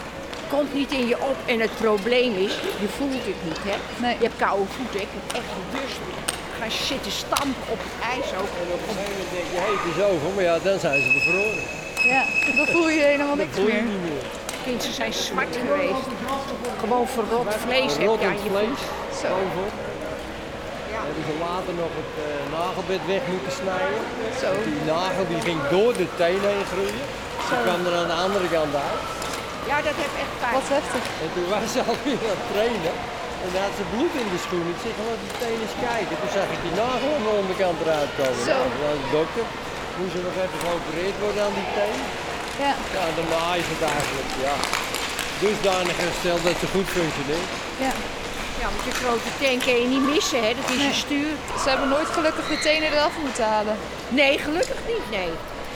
Speaker 1: Komt niet in je op. En het probleem is, je voelt het niet, hè?
Speaker 2: Nee.
Speaker 1: Je hebt koude voeten. Ik heb echt een dorst. Ik Ga zitten stampen op het ijs ook.
Speaker 5: Dan denk je, hé, het is over, maar ja, dan zijn ze bevroren.
Speaker 2: Ja. Dan voel je helemaal
Speaker 5: Dat
Speaker 2: niks
Speaker 5: voel je
Speaker 2: meer.
Speaker 5: niet meer.
Speaker 1: Kinderen zijn zwart geweest. Gewoon verrot vlees heb je
Speaker 5: Rottend
Speaker 1: aan je
Speaker 5: vlees,
Speaker 1: voeten.
Speaker 2: Zo.
Speaker 5: over. Hebben ze later nog het eh, nagelbed weg moeten snijden.
Speaker 2: Zo.
Speaker 5: Die nagel die ging door de teen heen groeien. Ze kwam er aan de andere kant uit.
Speaker 1: Ja, dat heb echt pijn.
Speaker 2: Wat heftig.
Speaker 5: En toen was ze alweer aan het trainen. En daar had ze bloed in de schoen. Ik zeg, laat meteen eens kijken. Toen zag ik die nagel aan de onderkant eruit komen.
Speaker 2: Zo.
Speaker 5: Nou, toen was de dokter. Moest er nog even geopereerd worden aan die teen.
Speaker 2: Ja,
Speaker 5: Ja, dan is het eigenlijk, ja. Dusdanig hersteld dat ze goed functioneert.
Speaker 2: ja.
Speaker 1: Ja, want je grote teen kun je niet missen, hè? dat is
Speaker 2: Nee.
Speaker 1: je stuur.
Speaker 2: Ze hebben nooit gelukkig de tenen eraf moeten halen.
Speaker 1: Nee, gelukkig niet, nee.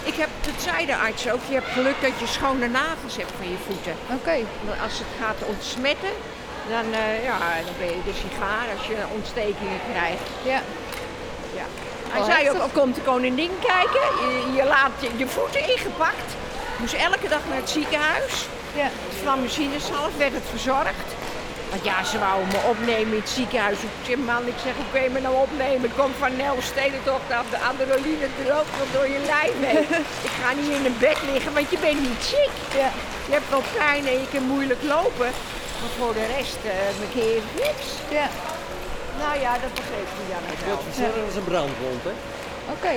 Speaker 1: Ik heb, dat zei de arts ook, je hebt geluk dat je schone nagels hebt van je voeten.
Speaker 2: Oké.
Speaker 1: Maar als het gaat ontsmetten, dan, eh, ja, dan ben je de sigaar als je ontstekingen krijgt.
Speaker 2: Ja.
Speaker 1: Ja. Hij
Speaker 2: Oh,
Speaker 1: zei ook,
Speaker 2: heftig.
Speaker 1: al komt de koningin kijken, je, je laat je, je voeten ingepakt. Moest elke dag naar het ziekenhuis.
Speaker 2: Ja.
Speaker 1: Van machinesalf werd het verzorgd. Want ja, ze wou me opnemen in het ziekenhuis. Ik zeg, man, ik zeg, hoe kun je me nou opnemen? Ik kom van Nelstedentocht af, de adrenaline droopt nog door je lijf heen. ik ga niet in een bed liggen, want je bent niet ziek.
Speaker 2: Ja.
Speaker 1: Je hebt wel pijn en je kan moeilijk lopen. Maar voor de rest, eh bekeer je niks.
Speaker 2: Ja.
Speaker 1: Nou ja, dat begreep hij dan ook wel.
Speaker 5: Dat verzorgen als een brandwond, hè.
Speaker 2: Oké.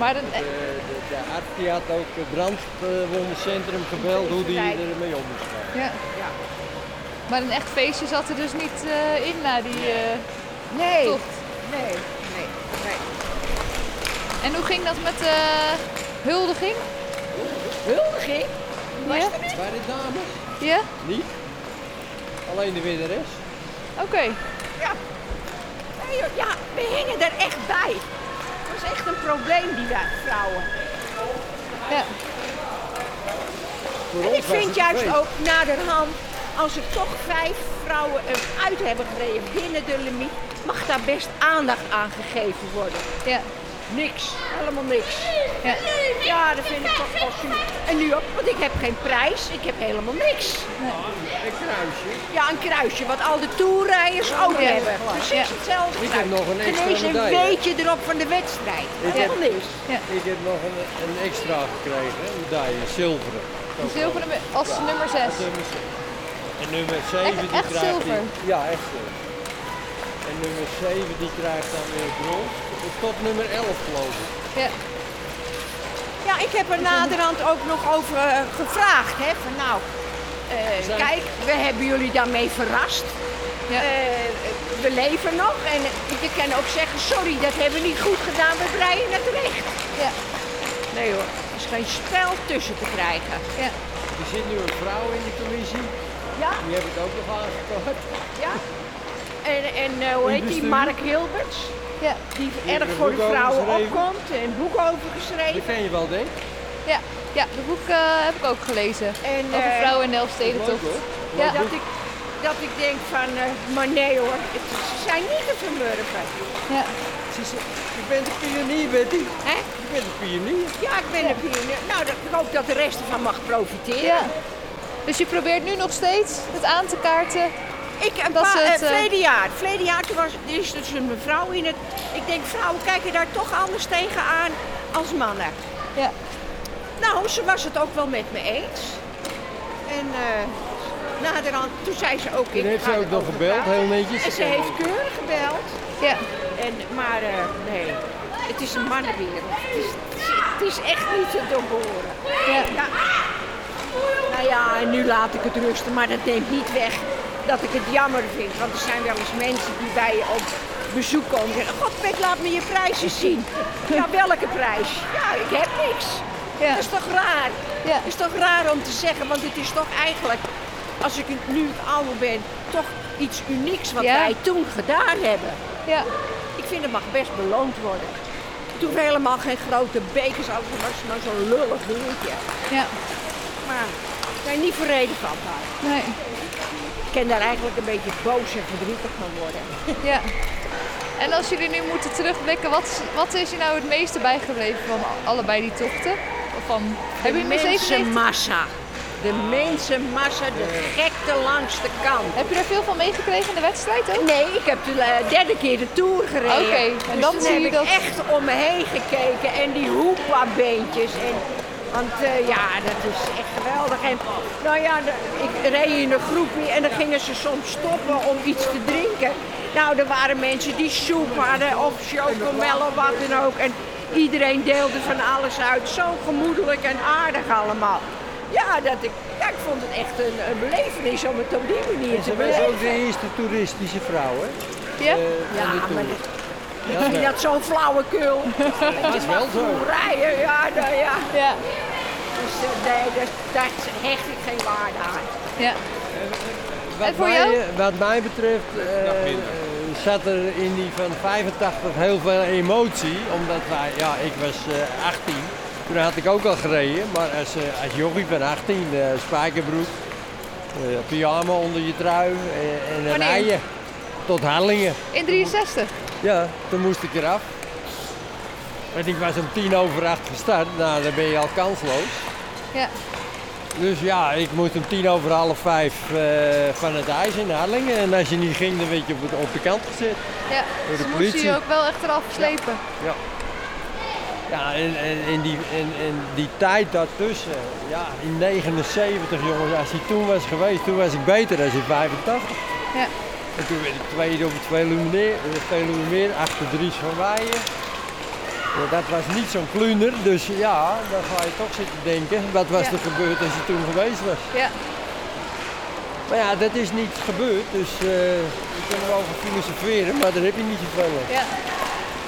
Speaker 2: Maar dan, eh,
Speaker 5: De, de, de arts die had ook het brandwondencentrum gebeld hoe die ermee om moest gaan.
Speaker 2: ja.
Speaker 1: Ja.
Speaker 2: maar een echt feestje zat er dus niet eh, in na die eh
Speaker 1: Nee,
Speaker 2: tocht.
Speaker 1: nee, nee, nee.
Speaker 2: En hoe ging dat met de huldiging?
Speaker 1: Huldiging? Was
Speaker 2: Ja?
Speaker 1: er niet?
Speaker 5: Bij de dames?
Speaker 2: Ja?
Speaker 5: Niet. Alleen de winnares.
Speaker 2: Oké.
Speaker 1: Ja. Nee, joh, ja, we hingen er echt bij. Het was echt een probleem, die daar, vrouwen.
Speaker 2: Ja.
Speaker 5: Voor
Speaker 1: En
Speaker 5: ons
Speaker 1: ik
Speaker 5: was
Speaker 1: vind
Speaker 5: het
Speaker 1: juist
Speaker 5: feest.
Speaker 1: ook naderhand, als er toch vijf vrouwen uit hebben gereden binnen de limiet, mag daar best aandacht aan gegeven worden.
Speaker 2: Ja.
Speaker 1: Niks, helemaal niks.
Speaker 2: Ja.
Speaker 1: Ja, dat vind ik toch wel zuur. En nu ook, want ik heb geen prijs, ik heb helemaal niks.
Speaker 5: Een kruisje.
Speaker 1: Ja, een kruisje, wat al de toerrijders ook
Speaker 2: ja,
Speaker 1: hebben.
Speaker 2: gelijk.
Speaker 1: Precies
Speaker 2: Ja.
Speaker 1: hetzelfde.
Speaker 5: Ik heb
Speaker 1: kruis.
Speaker 5: nog een
Speaker 1: En
Speaker 5: extra
Speaker 1: ineens een
Speaker 5: medaille.
Speaker 1: beetje erop van de wedstrijd. Helemaal niks.
Speaker 5: Ik heb nog een, een extra gekregen, hè, een medaille, een zilveren.
Speaker 2: Een zilveren me- als nummer 6.
Speaker 5: Nummer ze- En nummer 7
Speaker 2: Echt-
Speaker 5: die
Speaker 2: echt
Speaker 5: krijgt
Speaker 2: zilver?
Speaker 5: Die, ja, echt zilver. En nummer 7 die krijgt dan weer brons. Tot nummer 11 geloof ik.
Speaker 2: Ja.
Speaker 1: Ja, ik heb er naderhand ook nog over eh, gevraagd. Hè, van nou, eh,
Speaker 5: Zijn-
Speaker 1: kijk, we hebben jullie daarmee verrast.
Speaker 2: Ja.
Speaker 1: Eh, we leven nog en je kan ook zeggen, sorry, dat hebben we niet goed gedaan, we breien het recht.
Speaker 2: Ja.
Speaker 1: Nee hoor, er is geen spel tussen te krijgen.
Speaker 2: Ja.
Speaker 5: Er zit nu een vrouw in de commissie.
Speaker 1: Ja,
Speaker 5: Die heb ik ook nog aangekaart.
Speaker 1: ja. En, en eh, hoe heet die,
Speaker 5: bestuur.
Speaker 1: Mark Hilberts,
Speaker 2: Ja.
Speaker 1: die
Speaker 5: heeft
Speaker 1: erg
Speaker 5: een
Speaker 1: voor de
Speaker 5: boek over
Speaker 1: vrouwen
Speaker 5: geschreven.
Speaker 1: opkomt, een boek over geschreven.
Speaker 5: Die ken je wel, denk ik.
Speaker 2: Ja. Ja. De boek eh, heb ik ook gelezen.
Speaker 1: En,
Speaker 2: Over
Speaker 1: eh,
Speaker 2: vrouwen in de
Speaker 5: Leuk hoor.
Speaker 2: Elfstedentocht.
Speaker 5: Leuk
Speaker 2: Ja.
Speaker 1: Dat
Speaker 5: boek.
Speaker 1: ik, dat ik denk van, eh, maar nee hoor, het, ze zijn niet te vermurven.
Speaker 2: Ja.
Speaker 5: Ze zegt, Je bent een pionier, Betty.
Speaker 1: Hè?
Speaker 5: Je bent een pionier.
Speaker 1: Ja, ik ben er pionier. Nou, dat, ik hoop dat de rest ervan mag profiteren.
Speaker 2: Ja. Dus je probeert nu nog steeds het aan te kaarten.
Speaker 1: Ik, een
Speaker 2: Dat
Speaker 1: paar-
Speaker 2: ze
Speaker 1: eh,
Speaker 2: het, eh,
Speaker 1: verleden jaar, verleden jaar toen was, er is dus een mevrouw in het... Ik denk, vrouwen kijken daar toch anders tegenaan als mannen.
Speaker 2: Ja.
Speaker 1: Nou, ze was het ook wel met me eens. En eh, naderhand, toen zei ze ook...
Speaker 5: Toen
Speaker 1: ik
Speaker 5: heeft
Speaker 1: ga
Speaker 5: ze ook
Speaker 1: het
Speaker 5: nog
Speaker 1: over
Speaker 5: gebeld,
Speaker 1: praten.
Speaker 5: heel netjes.
Speaker 1: En ze heeft keurig gebeld.
Speaker 2: Ja.
Speaker 1: En, maar eh, nee, het is een mannenwereld. Het is, het is- het is echt niet te doorboren.
Speaker 2: Ja.
Speaker 1: Ja. Nou ja, en nu laat ik het rusten, maar dat neemt niet weg dat ik het jammer vind. Want er zijn wel eens mensen die bij je op bezoek komen en zeggen... Godpet, laat me je prijsjes zien. Ja, welke prijs? Ja, ik heb niks.
Speaker 2: Ja.
Speaker 1: Dat is toch raar?
Speaker 2: Ja.
Speaker 1: Dat is toch raar om te zeggen, want het is toch eigenlijk... Als ik nu ouder ben, toch iets unieks wat
Speaker 2: Ja.
Speaker 1: wij toen gedaan hebben.
Speaker 2: Ja.
Speaker 1: Ik vind het mag best beloond worden. Het hoeft helemaal geen grote bekers, alles maar maar zo'n lullig dingetje.
Speaker 2: Ja.
Speaker 1: Maar ik ben niet verreden van daar.
Speaker 2: Nee.
Speaker 1: Ik kan daar eigenlijk een beetje boos en verdrietig van worden.
Speaker 2: Ja. En als jullie nu moeten terugblikken, wat, is- wat is je nou het meeste bijgebleven van allebei die tochten? Of van, heb je
Speaker 1: de
Speaker 2: mis even
Speaker 1: mensenmassa. De mensenmassa, de gekte langs de kant.
Speaker 2: Heb je daar veel van meegekregen in de wedstrijd ook?
Speaker 1: Nee, ik heb de eh, derde keer de Tour gereden.
Speaker 2: Oké, en
Speaker 1: dus
Speaker 2: dan
Speaker 1: toen
Speaker 2: zie
Speaker 1: heb
Speaker 2: je
Speaker 1: ik
Speaker 2: dat-
Speaker 1: echt om me heen gekeken. En die hoepa-beentjes. En, want eh, ja, dat is echt geweldig. En nou ja, de- ik reed in een groepje en dan gingen ze soms stoppen om iets te drinken. Nou, er waren mensen die soep hadden of chocomel of wat dan ook. En iedereen deelde van alles uit. Zo gemoedelijk en aardig allemaal. Ja, dat ik, ja, ik vond het echt een, een belevenis om het op die manier
Speaker 5: En
Speaker 1: te
Speaker 5: ze was ook de
Speaker 1: beleven.
Speaker 5: eerste toeristische vrouw, hè?
Speaker 2: Ja?
Speaker 5: eh, van
Speaker 1: Ja,
Speaker 5: de
Speaker 1: maar
Speaker 5: tour.
Speaker 1: dat-
Speaker 5: Ja,
Speaker 1: Ik vind dat zo'n flauwekul.
Speaker 5: dat is wel zo.
Speaker 1: Rijden, ja, nou ja.
Speaker 2: Ja.
Speaker 1: Dus eh, nee, dus, daar hecht ik geen waarde aan.
Speaker 2: Ja.
Speaker 5: Wat
Speaker 2: En voor
Speaker 5: mij,
Speaker 2: jou?
Speaker 5: eh, Wat mij betreft eh, eh, zat er in die van 85 heel veel emotie. Omdat wij, ja, ik was eh, 18. Toen had ik ook al gereden, maar als, eh als jochie van 18, eh, spijkerbroek, eh, pyjama onder je trui eh, en een
Speaker 2: Wanneer?
Speaker 5: eier. Tot Hallingen.
Speaker 2: In 63.
Speaker 5: Ja, toen moest ik eraf. En ik was om tien over acht gestart. Nou, dan ben je al kansloos.
Speaker 2: Ja.
Speaker 5: Dus ja, ik moest om tien over half vijf eh, van het ijs in Harlingen. En als je niet ging, dan werd je op, het- op de kant gezet.
Speaker 2: Ja.
Speaker 5: Door de
Speaker 2: Ze moesten
Speaker 5: politie.
Speaker 2: je ook wel echt eraf slepen.
Speaker 5: Ja, en, en, en die, en, en die tijd daartussen. Ja, in 79 jongens, als hij toen was geweest, toen was ik beter dan in 85.
Speaker 2: Ja.
Speaker 5: En toen werd ik tweede op het Veluwemeer, eh, Veluwemeer achter Dries van Weijen. Ja, dat was niet zo'n kluner, dus ja, dan ga je toch zitten denken. Wat was
Speaker 2: Ja.
Speaker 5: er gebeurd als je toen geweest was?
Speaker 2: Ja.
Speaker 5: Maar ja, dat is niet gebeurd, dus eh ik kan erover filosoferen, maar daar heb je niet zoveel aan.
Speaker 2: Ja.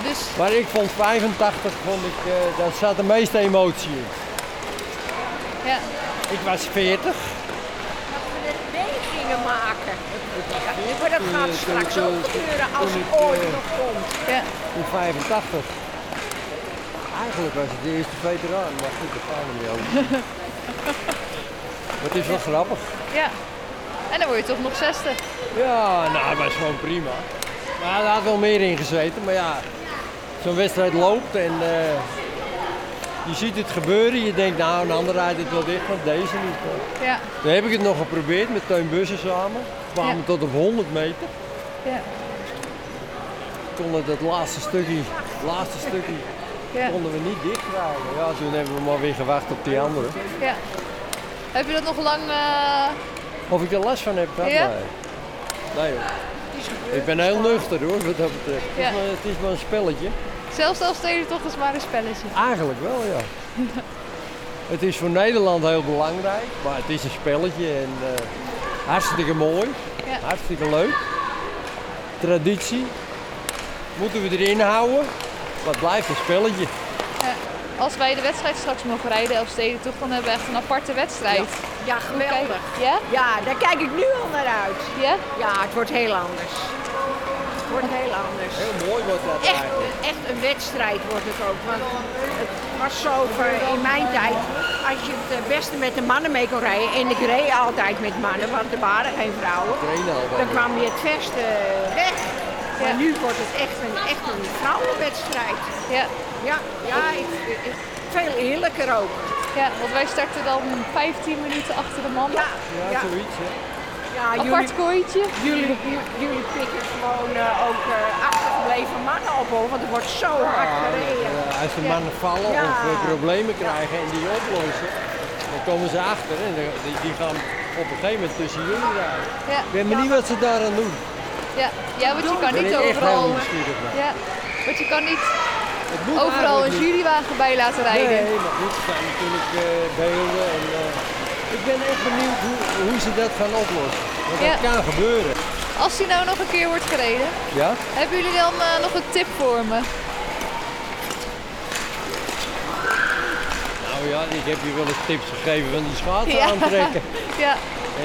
Speaker 2: Dus
Speaker 5: Maar ik vond 85, vond ik, eh, daar zat de meeste emotie in.
Speaker 2: ja.
Speaker 5: Ik was 40.
Speaker 1: Dat we het mee gingen maken. Ja, maar dat
Speaker 5: Toen,
Speaker 1: gaat
Speaker 5: eh,
Speaker 1: straks
Speaker 5: toen,
Speaker 1: ook
Speaker 5: eh,
Speaker 1: gebeuren als
Speaker 5: toen
Speaker 1: het
Speaker 5: ik,
Speaker 1: ooit
Speaker 5: eh,
Speaker 1: nog komt.
Speaker 2: Ja.
Speaker 5: In 85. Eigenlijk was het de eerste veteraan, maar goed, dat gaan we niet over. Maar het is wel grappig.
Speaker 2: Ja. En dan word je toch nog 60.
Speaker 5: Ja, nou, dat was gewoon prima. Maar er had wel meer in gezeten. Maar ja, zo'n wedstrijd loopt en eh, je ziet het gebeuren. Je denkt, nou, een ander rijdt het wel dicht, maar deze niet.
Speaker 2: Ja.
Speaker 5: Toen heb ik het nog geprobeerd met Teun Bussen samen. We kwamen
Speaker 2: Ja.
Speaker 5: tot op 100 meter.
Speaker 2: Ja.
Speaker 5: Konden dat laatste stukje, laatste stukje
Speaker 2: Ja.
Speaker 5: konden we niet dicht krijgen. Ja, toen hebben we maar weer gewacht op die andere.
Speaker 2: ja. Heb je dat nog lang... eh,
Speaker 5: Of ik er last van heb, dat
Speaker 2: Ja?
Speaker 5: nee. Nee hoor. Ik ben heel nuchter hoor, wat dat betreft. Het,
Speaker 2: Ja.
Speaker 5: is maar, het is maar een spelletje.
Speaker 2: Zelfs als toch is maar een spelletje.
Speaker 5: Eigenlijk wel, ja. Het is voor Nederland heel belangrijk, maar het is een spelletje en eh, hartstikke mooi,
Speaker 2: Ja.
Speaker 5: hartstikke leuk. Traditie moeten we erin houden, maar het blijft een spelletje.
Speaker 2: Als wij de wedstrijd straks mogen rijden, Elfstedentocht, dan hebben we echt een aparte wedstrijd.
Speaker 1: Ja, geweldig.
Speaker 2: Ja?
Speaker 1: Ja, daar kijk ik nu al naar uit.
Speaker 2: Ja?
Speaker 1: Ja, het wordt heel anders. Het wordt heel anders.
Speaker 5: Heel mooi wordt dat
Speaker 1: Echt,
Speaker 5: eigenlijk.
Speaker 1: echt een wedstrijd wordt het ook. Want het was zo voor- in mijn tijd, als je het eh, beste met de mannen mee kon rijden. En ik reed altijd met mannen, want er waren geen vrouwen.
Speaker 5: Trainen al
Speaker 1: Dan kwam je het verste weg. Maar nu wordt het echt een, echt een vrouwenwedstrijd.
Speaker 2: Ja.
Speaker 1: Ja, ja ik, ik- veel eerlijker ook.
Speaker 2: Ja, want wij starten dan 15 minuten achter de mannen.
Speaker 1: Ja,
Speaker 5: Ja,
Speaker 1: ja,
Speaker 5: zoiets hè.
Speaker 1: ja, jullie,
Speaker 2: Apart kooitje.
Speaker 1: jullie, jullie pikken gewoon eh, ook eh, achtergebleven mannen op, hoor, want er wordt zo
Speaker 5: Ah,
Speaker 1: hard gereden.
Speaker 5: Eh, als de mannen vallen
Speaker 1: Ja.
Speaker 5: of eh, problemen krijgen en die oplossen, dan komen ze achter en dan- die, die gaan op een gegeven moment tussen jullie rijden.
Speaker 2: Ja.
Speaker 5: Ik ben benieuwd wat ze daaraan doen.
Speaker 2: Ja. ja, want je kan
Speaker 5: ben
Speaker 2: niet
Speaker 5: ik echt heel
Speaker 2: overal...
Speaker 5: nieuwsgierig naar.
Speaker 2: Ja. Want je kan niet
Speaker 5: Het moet
Speaker 2: overal
Speaker 5: eigenlijk
Speaker 2: een
Speaker 5: niet.
Speaker 2: jurywagen bij laten
Speaker 5: Nee,
Speaker 2: rijden.
Speaker 5: maar goed, er zijn natuurlijk eh, beelden. En, eh, ik ben echt benieuwd hoe, hoe ze dat gaan oplossen. Want dat
Speaker 2: Ja.
Speaker 5: kan gebeuren.
Speaker 2: Als die nou nog een keer wordt gereden,
Speaker 5: Ja?
Speaker 2: hebben jullie dan eh, nog een tip voor me?
Speaker 5: Nou ja, ik heb je wel eens tips gegeven van die schaatsen
Speaker 2: Ja.
Speaker 5: aantrekken.
Speaker 2: Ja.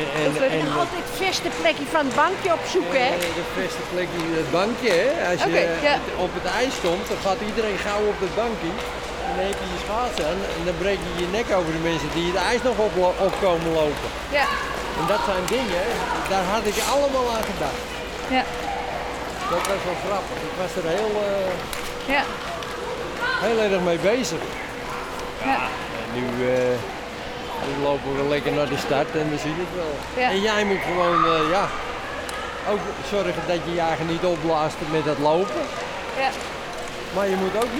Speaker 5: En, en,
Speaker 2: Dat weet ik
Speaker 5: en
Speaker 1: En
Speaker 5: dat-
Speaker 1: altijd veste plekje van het bankje opzoeken, hè?
Speaker 5: eh, de beste plek in het bankje, hè. Als je
Speaker 2: Oké,
Speaker 5: eh,
Speaker 2: ja.
Speaker 5: op het ijs komt, dan gaat iedereen gauw op het bankje. En dan heb je je schaatsen aan en dan breek je je nek over de mensen die het ijs nog op, opkomen lopen.
Speaker 2: Ja.
Speaker 5: En dat zijn dingen, daar had ik allemaal aan gedacht.
Speaker 2: Ja.
Speaker 5: Dat was wel grappig. Ik was er heel, eh,
Speaker 2: Ja.
Speaker 5: heel erg mee bezig.
Speaker 2: Ja.
Speaker 5: En nu, eh, nu lopen we lekker naar de start en we zien het wel.
Speaker 2: Ja.
Speaker 5: En jij moet gewoon eh, ja, ook zorgen dat je jager niet opblaast met dat lopen.
Speaker 2: Ja.
Speaker 5: Maar je moet ook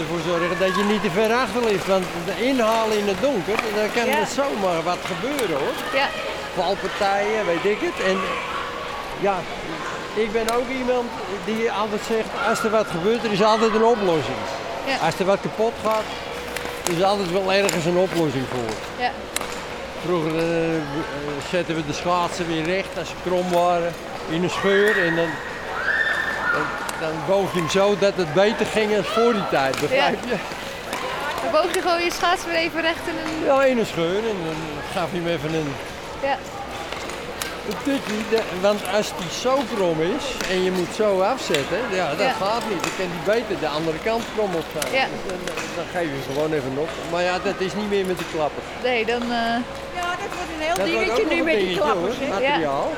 Speaker 5: ervoor zorgen dat je niet te ver achter ligt. Want de inhalen in het donker, dan kan
Speaker 2: Ja.
Speaker 5: er zomaar wat gebeuren hoor.
Speaker 2: Ja.
Speaker 5: valpartijen, weet ik het. En ja, ik ben ook iemand die altijd zegt, als er wat gebeurt, er is altijd een oplossing.
Speaker 2: Ja.
Speaker 5: Als er wat kapot gaat, is er altijd wel ergens een oplossing voor.
Speaker 2: Ja.
Speaker 5: Vroeger eh, eh, zetten we de schaatsen weer recht als ze krom waren in een scheur. En dan, dan, dan boog je hem zo dat het beter ging als voor die tijd, begrijp je?
Speaker 2: Dan boog je gewoon je schaats weer even recht in een...
Speaker 5: Ja, in een scheur en dan gaf je hem even een,
Speaker 2: Ja,
Speaker 5: een tikkie. De- Want als die zo krom is en je moet zo afzetten, ja, dat
Speaker 2: Ja.
Speaker 5: gaat niet. Dan kan die beter de andere kant krom op gaan.
Speaker 2: Ja.
Speaker 5: Dus dan, dan geef je hem gewoon even op. Maar ja, dat is niet meer met de klappen.
Speaker 2: nee, dan... eh,
Speaker 1: Ja, dat wordt een heel
Speaker 5: Dat wordt
Speaker 1: dingetje
Speaker 5: ook
Speaker 1: nu
Speaker 5: nog
Speaker 1: met
Speaker 5: een
Speaker 1: die
Speaker 5: dingetje,
Speaker 1: klappers.
Speaker 5: hoor.
Speaker 1: hè.
Speaker 5: Materiaal.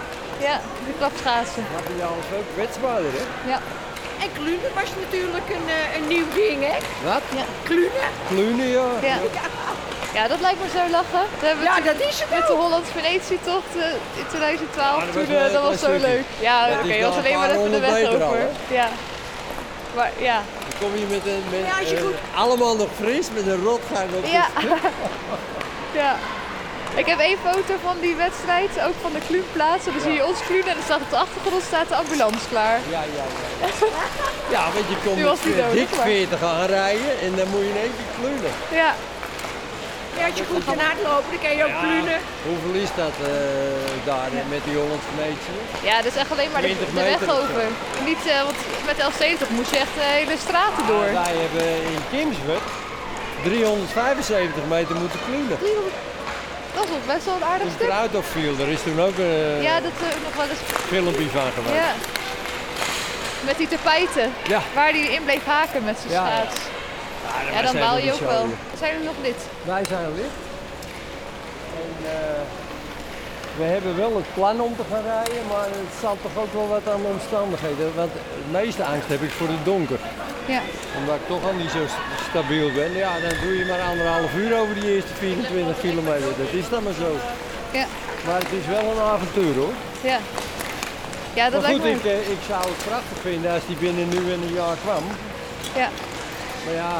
Speaker 2: ja, de klapschaatsen.
Speaker 5: Materiaal is ook kwetsbaarder, hè?
Speaker 1: En Klunen was natuurlijk een, eh, een nieuw ding, hè?
Speaker 5: Wat?
Speaker 1: Klunen?
Speaker 5: Klunen, ja.
Speaker 2: Ja. Ja, dat lijkt me zo lachen. Dat hebben we
Speaker 1: Ja,
Speaker 2: toen
Speaker 1: dat is het
Speaker 2: met de
Speaker 1: ook.
Speaker 2: Holland-Venetië-tocht eh, in 2012.
Speaker 5: Ja, dat
Speaker 2: toen,
Speaker 5: was
Speaker 2: eh,
Speaker 5: wel een
Speaker 2: dat was
Speaker 5: klein
Speaker 2: zo
Speaker 5: stukje. dus
Speaker 2: leuk. Ja,
Speaker 5: Dat
Speaker 2: oké,
Speaker 5: is
Speaker 2: je
Speaker 5: wel
Speaker 2: was
Speaker 5: een
Speaker 2: alleen maar
Speaker 5: paar
Speaker 2: even de weg
Speaker 5: honderd meter al,
Speaker 2: over. ja. Maar ja,
Speaker 5: Dan kom je met een... Met,
Speaker 1: Ja, als je
Speaker 5: eh,
Speaker 1: goed-
Speaker 5: allemaal nog fris met een rotgang op je-
Speaker 2: Ja. ja. Ik heb één foto van die wedstrijd, ook van de kluun plaatsen. Dan zie je ons kluun en dan staat op de achtergrond staat de ambulance klaar.
Speaker 5: Ja, ja, ja. Ja, want je komt
Speaker 2: Nu was die
Speaker 5: met, eh,
Speaker 2: nodig,
Speaker 5: dik
Speaker 2: maar-
Speaker 5: 40 aanrijden en dan moet je in één keer klunen.
Speaker 2: Ja,
Speaker 1: Ja, als je goed kan hardlopen, dan kan je ook klunen.
Speaker 5: Hoeveel is dat eh, daar eh, met die Hollandse meetje?
Speaker 2: ja dat is echt alleen maar de,
Speaker 5: 20
Speaker 2: de weg
Speaker 5: meter of zo.
Speaker 2: over. Niet, eh, want met L70 moest je echt de hele straten door.
Speaker 5: Ja, Ah, wij hebben in Kimswet 375 meter moeten klunen.
Speaker 2: Dat is wel best wel een aardig
Speaker 5: Dus
Speaker 2: stuk.
Speaker 5: eruit viel, er is toen ook een
Speaker 2: Ja, dat is nog wel eens.
Speaker 5: filmpje van geweest.
Speaker 2: Ja. Met die tapijten,
Speaker 5: Ja.
Speaker 2: waar hij in bleef haken met zijn
Speaker 5: Ja, ja.
Speaker 2: schaats.
Speaker 5: Ja,
Speaker 2: Ja,
Speaker 5: wij
Speaker 2: dan
Speaker 5: zijn
Speaker 2: baal
Speaker 5: er
Speaker 2: je
Speaker 5: niet
Speaker 2: ook
Speaker 5: zo,
Speaker 2: wel.
Speaker 5: joh.
Speaker 2: Zijn er nog dit?
Speaker 5: Wij zijn lid. En eh, we hebben wel het plan om te gaan rijden, maar het staat toch ook wel wat aan de omstandigheden. Want het meeste angst heb ik voor het donker.
Speaker 2: Ja.
Speaker 5: Omdat ik toch al niet zo st- stabiel ben. Ja, dan doe je maar anderhalf uur over die eerste 24 kilometer. Dat is dan maar zo.
Speaker 2: Ja.
Speaker 5: Maar het is wel een avontuur hoor.
Speaker 2: Ja, ja dat
Speaker 5: maar
Speaker 2: lijkt
Speaker 5: goed,
Speaker 2: me.
Speaker 5: ik, eh, ik zou het prachtig vinden als die binnen nu en een jaar kwam.
Speaker 2: Ja.
Speaker 5: Maar ja,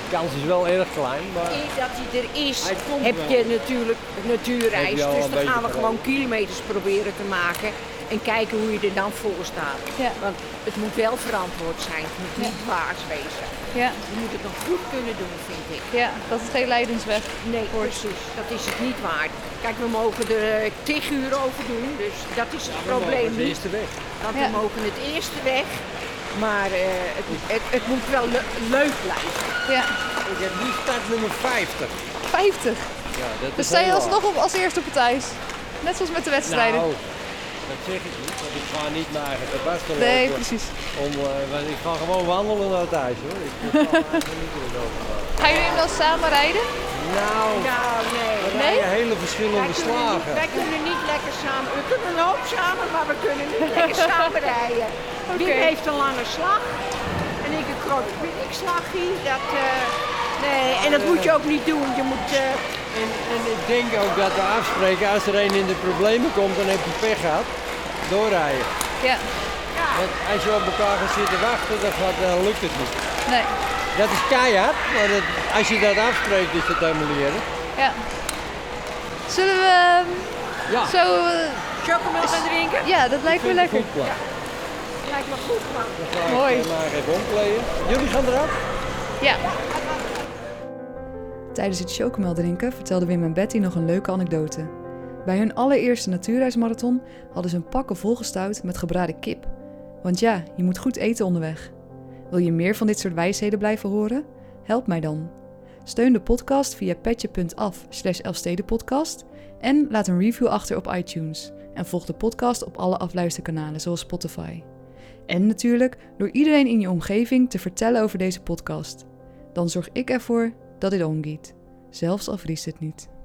Speaker 5: de kans is wel erg klein. Maar...
Speaker 1: Eer dat hij er is,
Speaker 5: Hij komt
Speaker 1: heb
Speaker 5: wel.
Speaker 1: je natuurlijk natuurreis.
Speaker 5: Heb je al
Speaker 1: Dus
Speaker 5: een
Speaker 1: dan gaan we
Speaker 5: beetje
Speaker 1: gewoon kilometers proberen te maken. En kijken hoe je er dan voor staat.
Speaker 2: Ja.
Speaker 1: Want het moet wel verantwoord zijn. Het moet niet waars wezen.
Speaker 2: Ja,
Speaker 1: Je moet het nog goed kunnen doen, vind ik.
Speaker 2: ja, dat is geen leidensweg.
Speaker 1: Nee, precies. Dat is het niet waard. Kijk, we mogen er eh, tig uur over doen. Dus dat is het probleem
Speaker 5: de
Speaker 1: niet.
Speaker 5: eerste weg.
Speaker 1: Want
Speaker 2: Ja.
Speaker 1: we mogen het eerste weg. Maar eh, het, het, het moet wel le- leuk blijven.
Speaker 2: Ja,
Speaker 5: Ik heb nu start nummer 50.
Speaker 2: 50.
Speaker 5: Ja, dat
Speaker 2: Dus
Speaker 5: is
Speaker 2: sta je
Speaker 5: heel
Speaker 2: alsnog op, als eerste op het ijs. Net zoals met de wedstrijden.
Speaker 5: Nou, dat zeg ik niet, want ik ga niet naar eigen tabasco
Speaker 2: nee,
Speaker 5: lopen.
Speaker 2: precies.
Speaker 5: Om, eh, want ik ga gewoon wandelen naar het ijs hoor. Ik ik ga eigenlijk niet in het openbaar.
Speaker 2: Ga jullie hem dan samen rijden?
Speaker 5: Nou,
Speaker 1: Nou, nee.
Speaker 5: er
Speaker 2: nee?
Speaker 5: rijden hele
Speaker 1: Wij
Speaker 5: verschillende
Speaker 1: kunnen, niet,
Speaker 5: slagen.
Speaker 1: wij kunnen niet lekker samen. We kunnen een hoop samen, maar we kunnen niet lekker samen rijden. Die
Speaker 2: Oké.
Speaker 1: heeft een lange slag. En ik een korte picknickslagje. Dat, eh, nee, en dat moet je ook niet doen. Je moet. eh,
Speaker 5: En, en ik denk ook dat we afspreken, als er een in de problemen komt, dan heb je pech gehad. Doorrijden.
Speaker 2: Ja,
Speaker 1: ja,
Speaker 5: Want als je op elkaar gaat zitten wachten, dan, gaat, dan lukt het niet.
Speaker 2: nee.
Speaker 5: Dat is keihard, maar dat- als je dat afspreekt, is dat helemaal niet erg.
Speaker 2: Ja. Zullen we
Speaker 5: Ja,
Speaker 2: ehm, zo... eh,
Speaker 1: chocomel gaan drinken.
Speaker 2: ja, dat lijkt me
Speaker 5: vind ik
Speaker 2: lekker.
Speaker 5: een goed plan.
Speaker 1: Lijkt me goed, man.
Speaker 5: Dan ga ik,
Speaker 2: Mooi.
Speaker 5: eh, Maar even omkleden. Jullie gaan eraf?
Speaker 2: Ja.
Speaker 6: Tijdens het chocomel drinken vertelden Wim en Betty nog een leuke anekdote. Bij hun allereerste natuurreismarathon hadden ze een pakken volgestouwd met gebraden kip. Want ja, je moet goed eten onderweg. Wil je meer van dit soort wijsheden blijven horen? Help mij dan. Steun de podcast via petje.af slash elfstedenpodcast en laat een review achter op iTunes. En volg de podcast op alle afluisterkanalen zoals Spotify. En natuurlijk door iedereen in je omgeving te vertellen over deze podcast dan zorg ik ervoor dat dit omgiet. Zelfs al vriest het niet.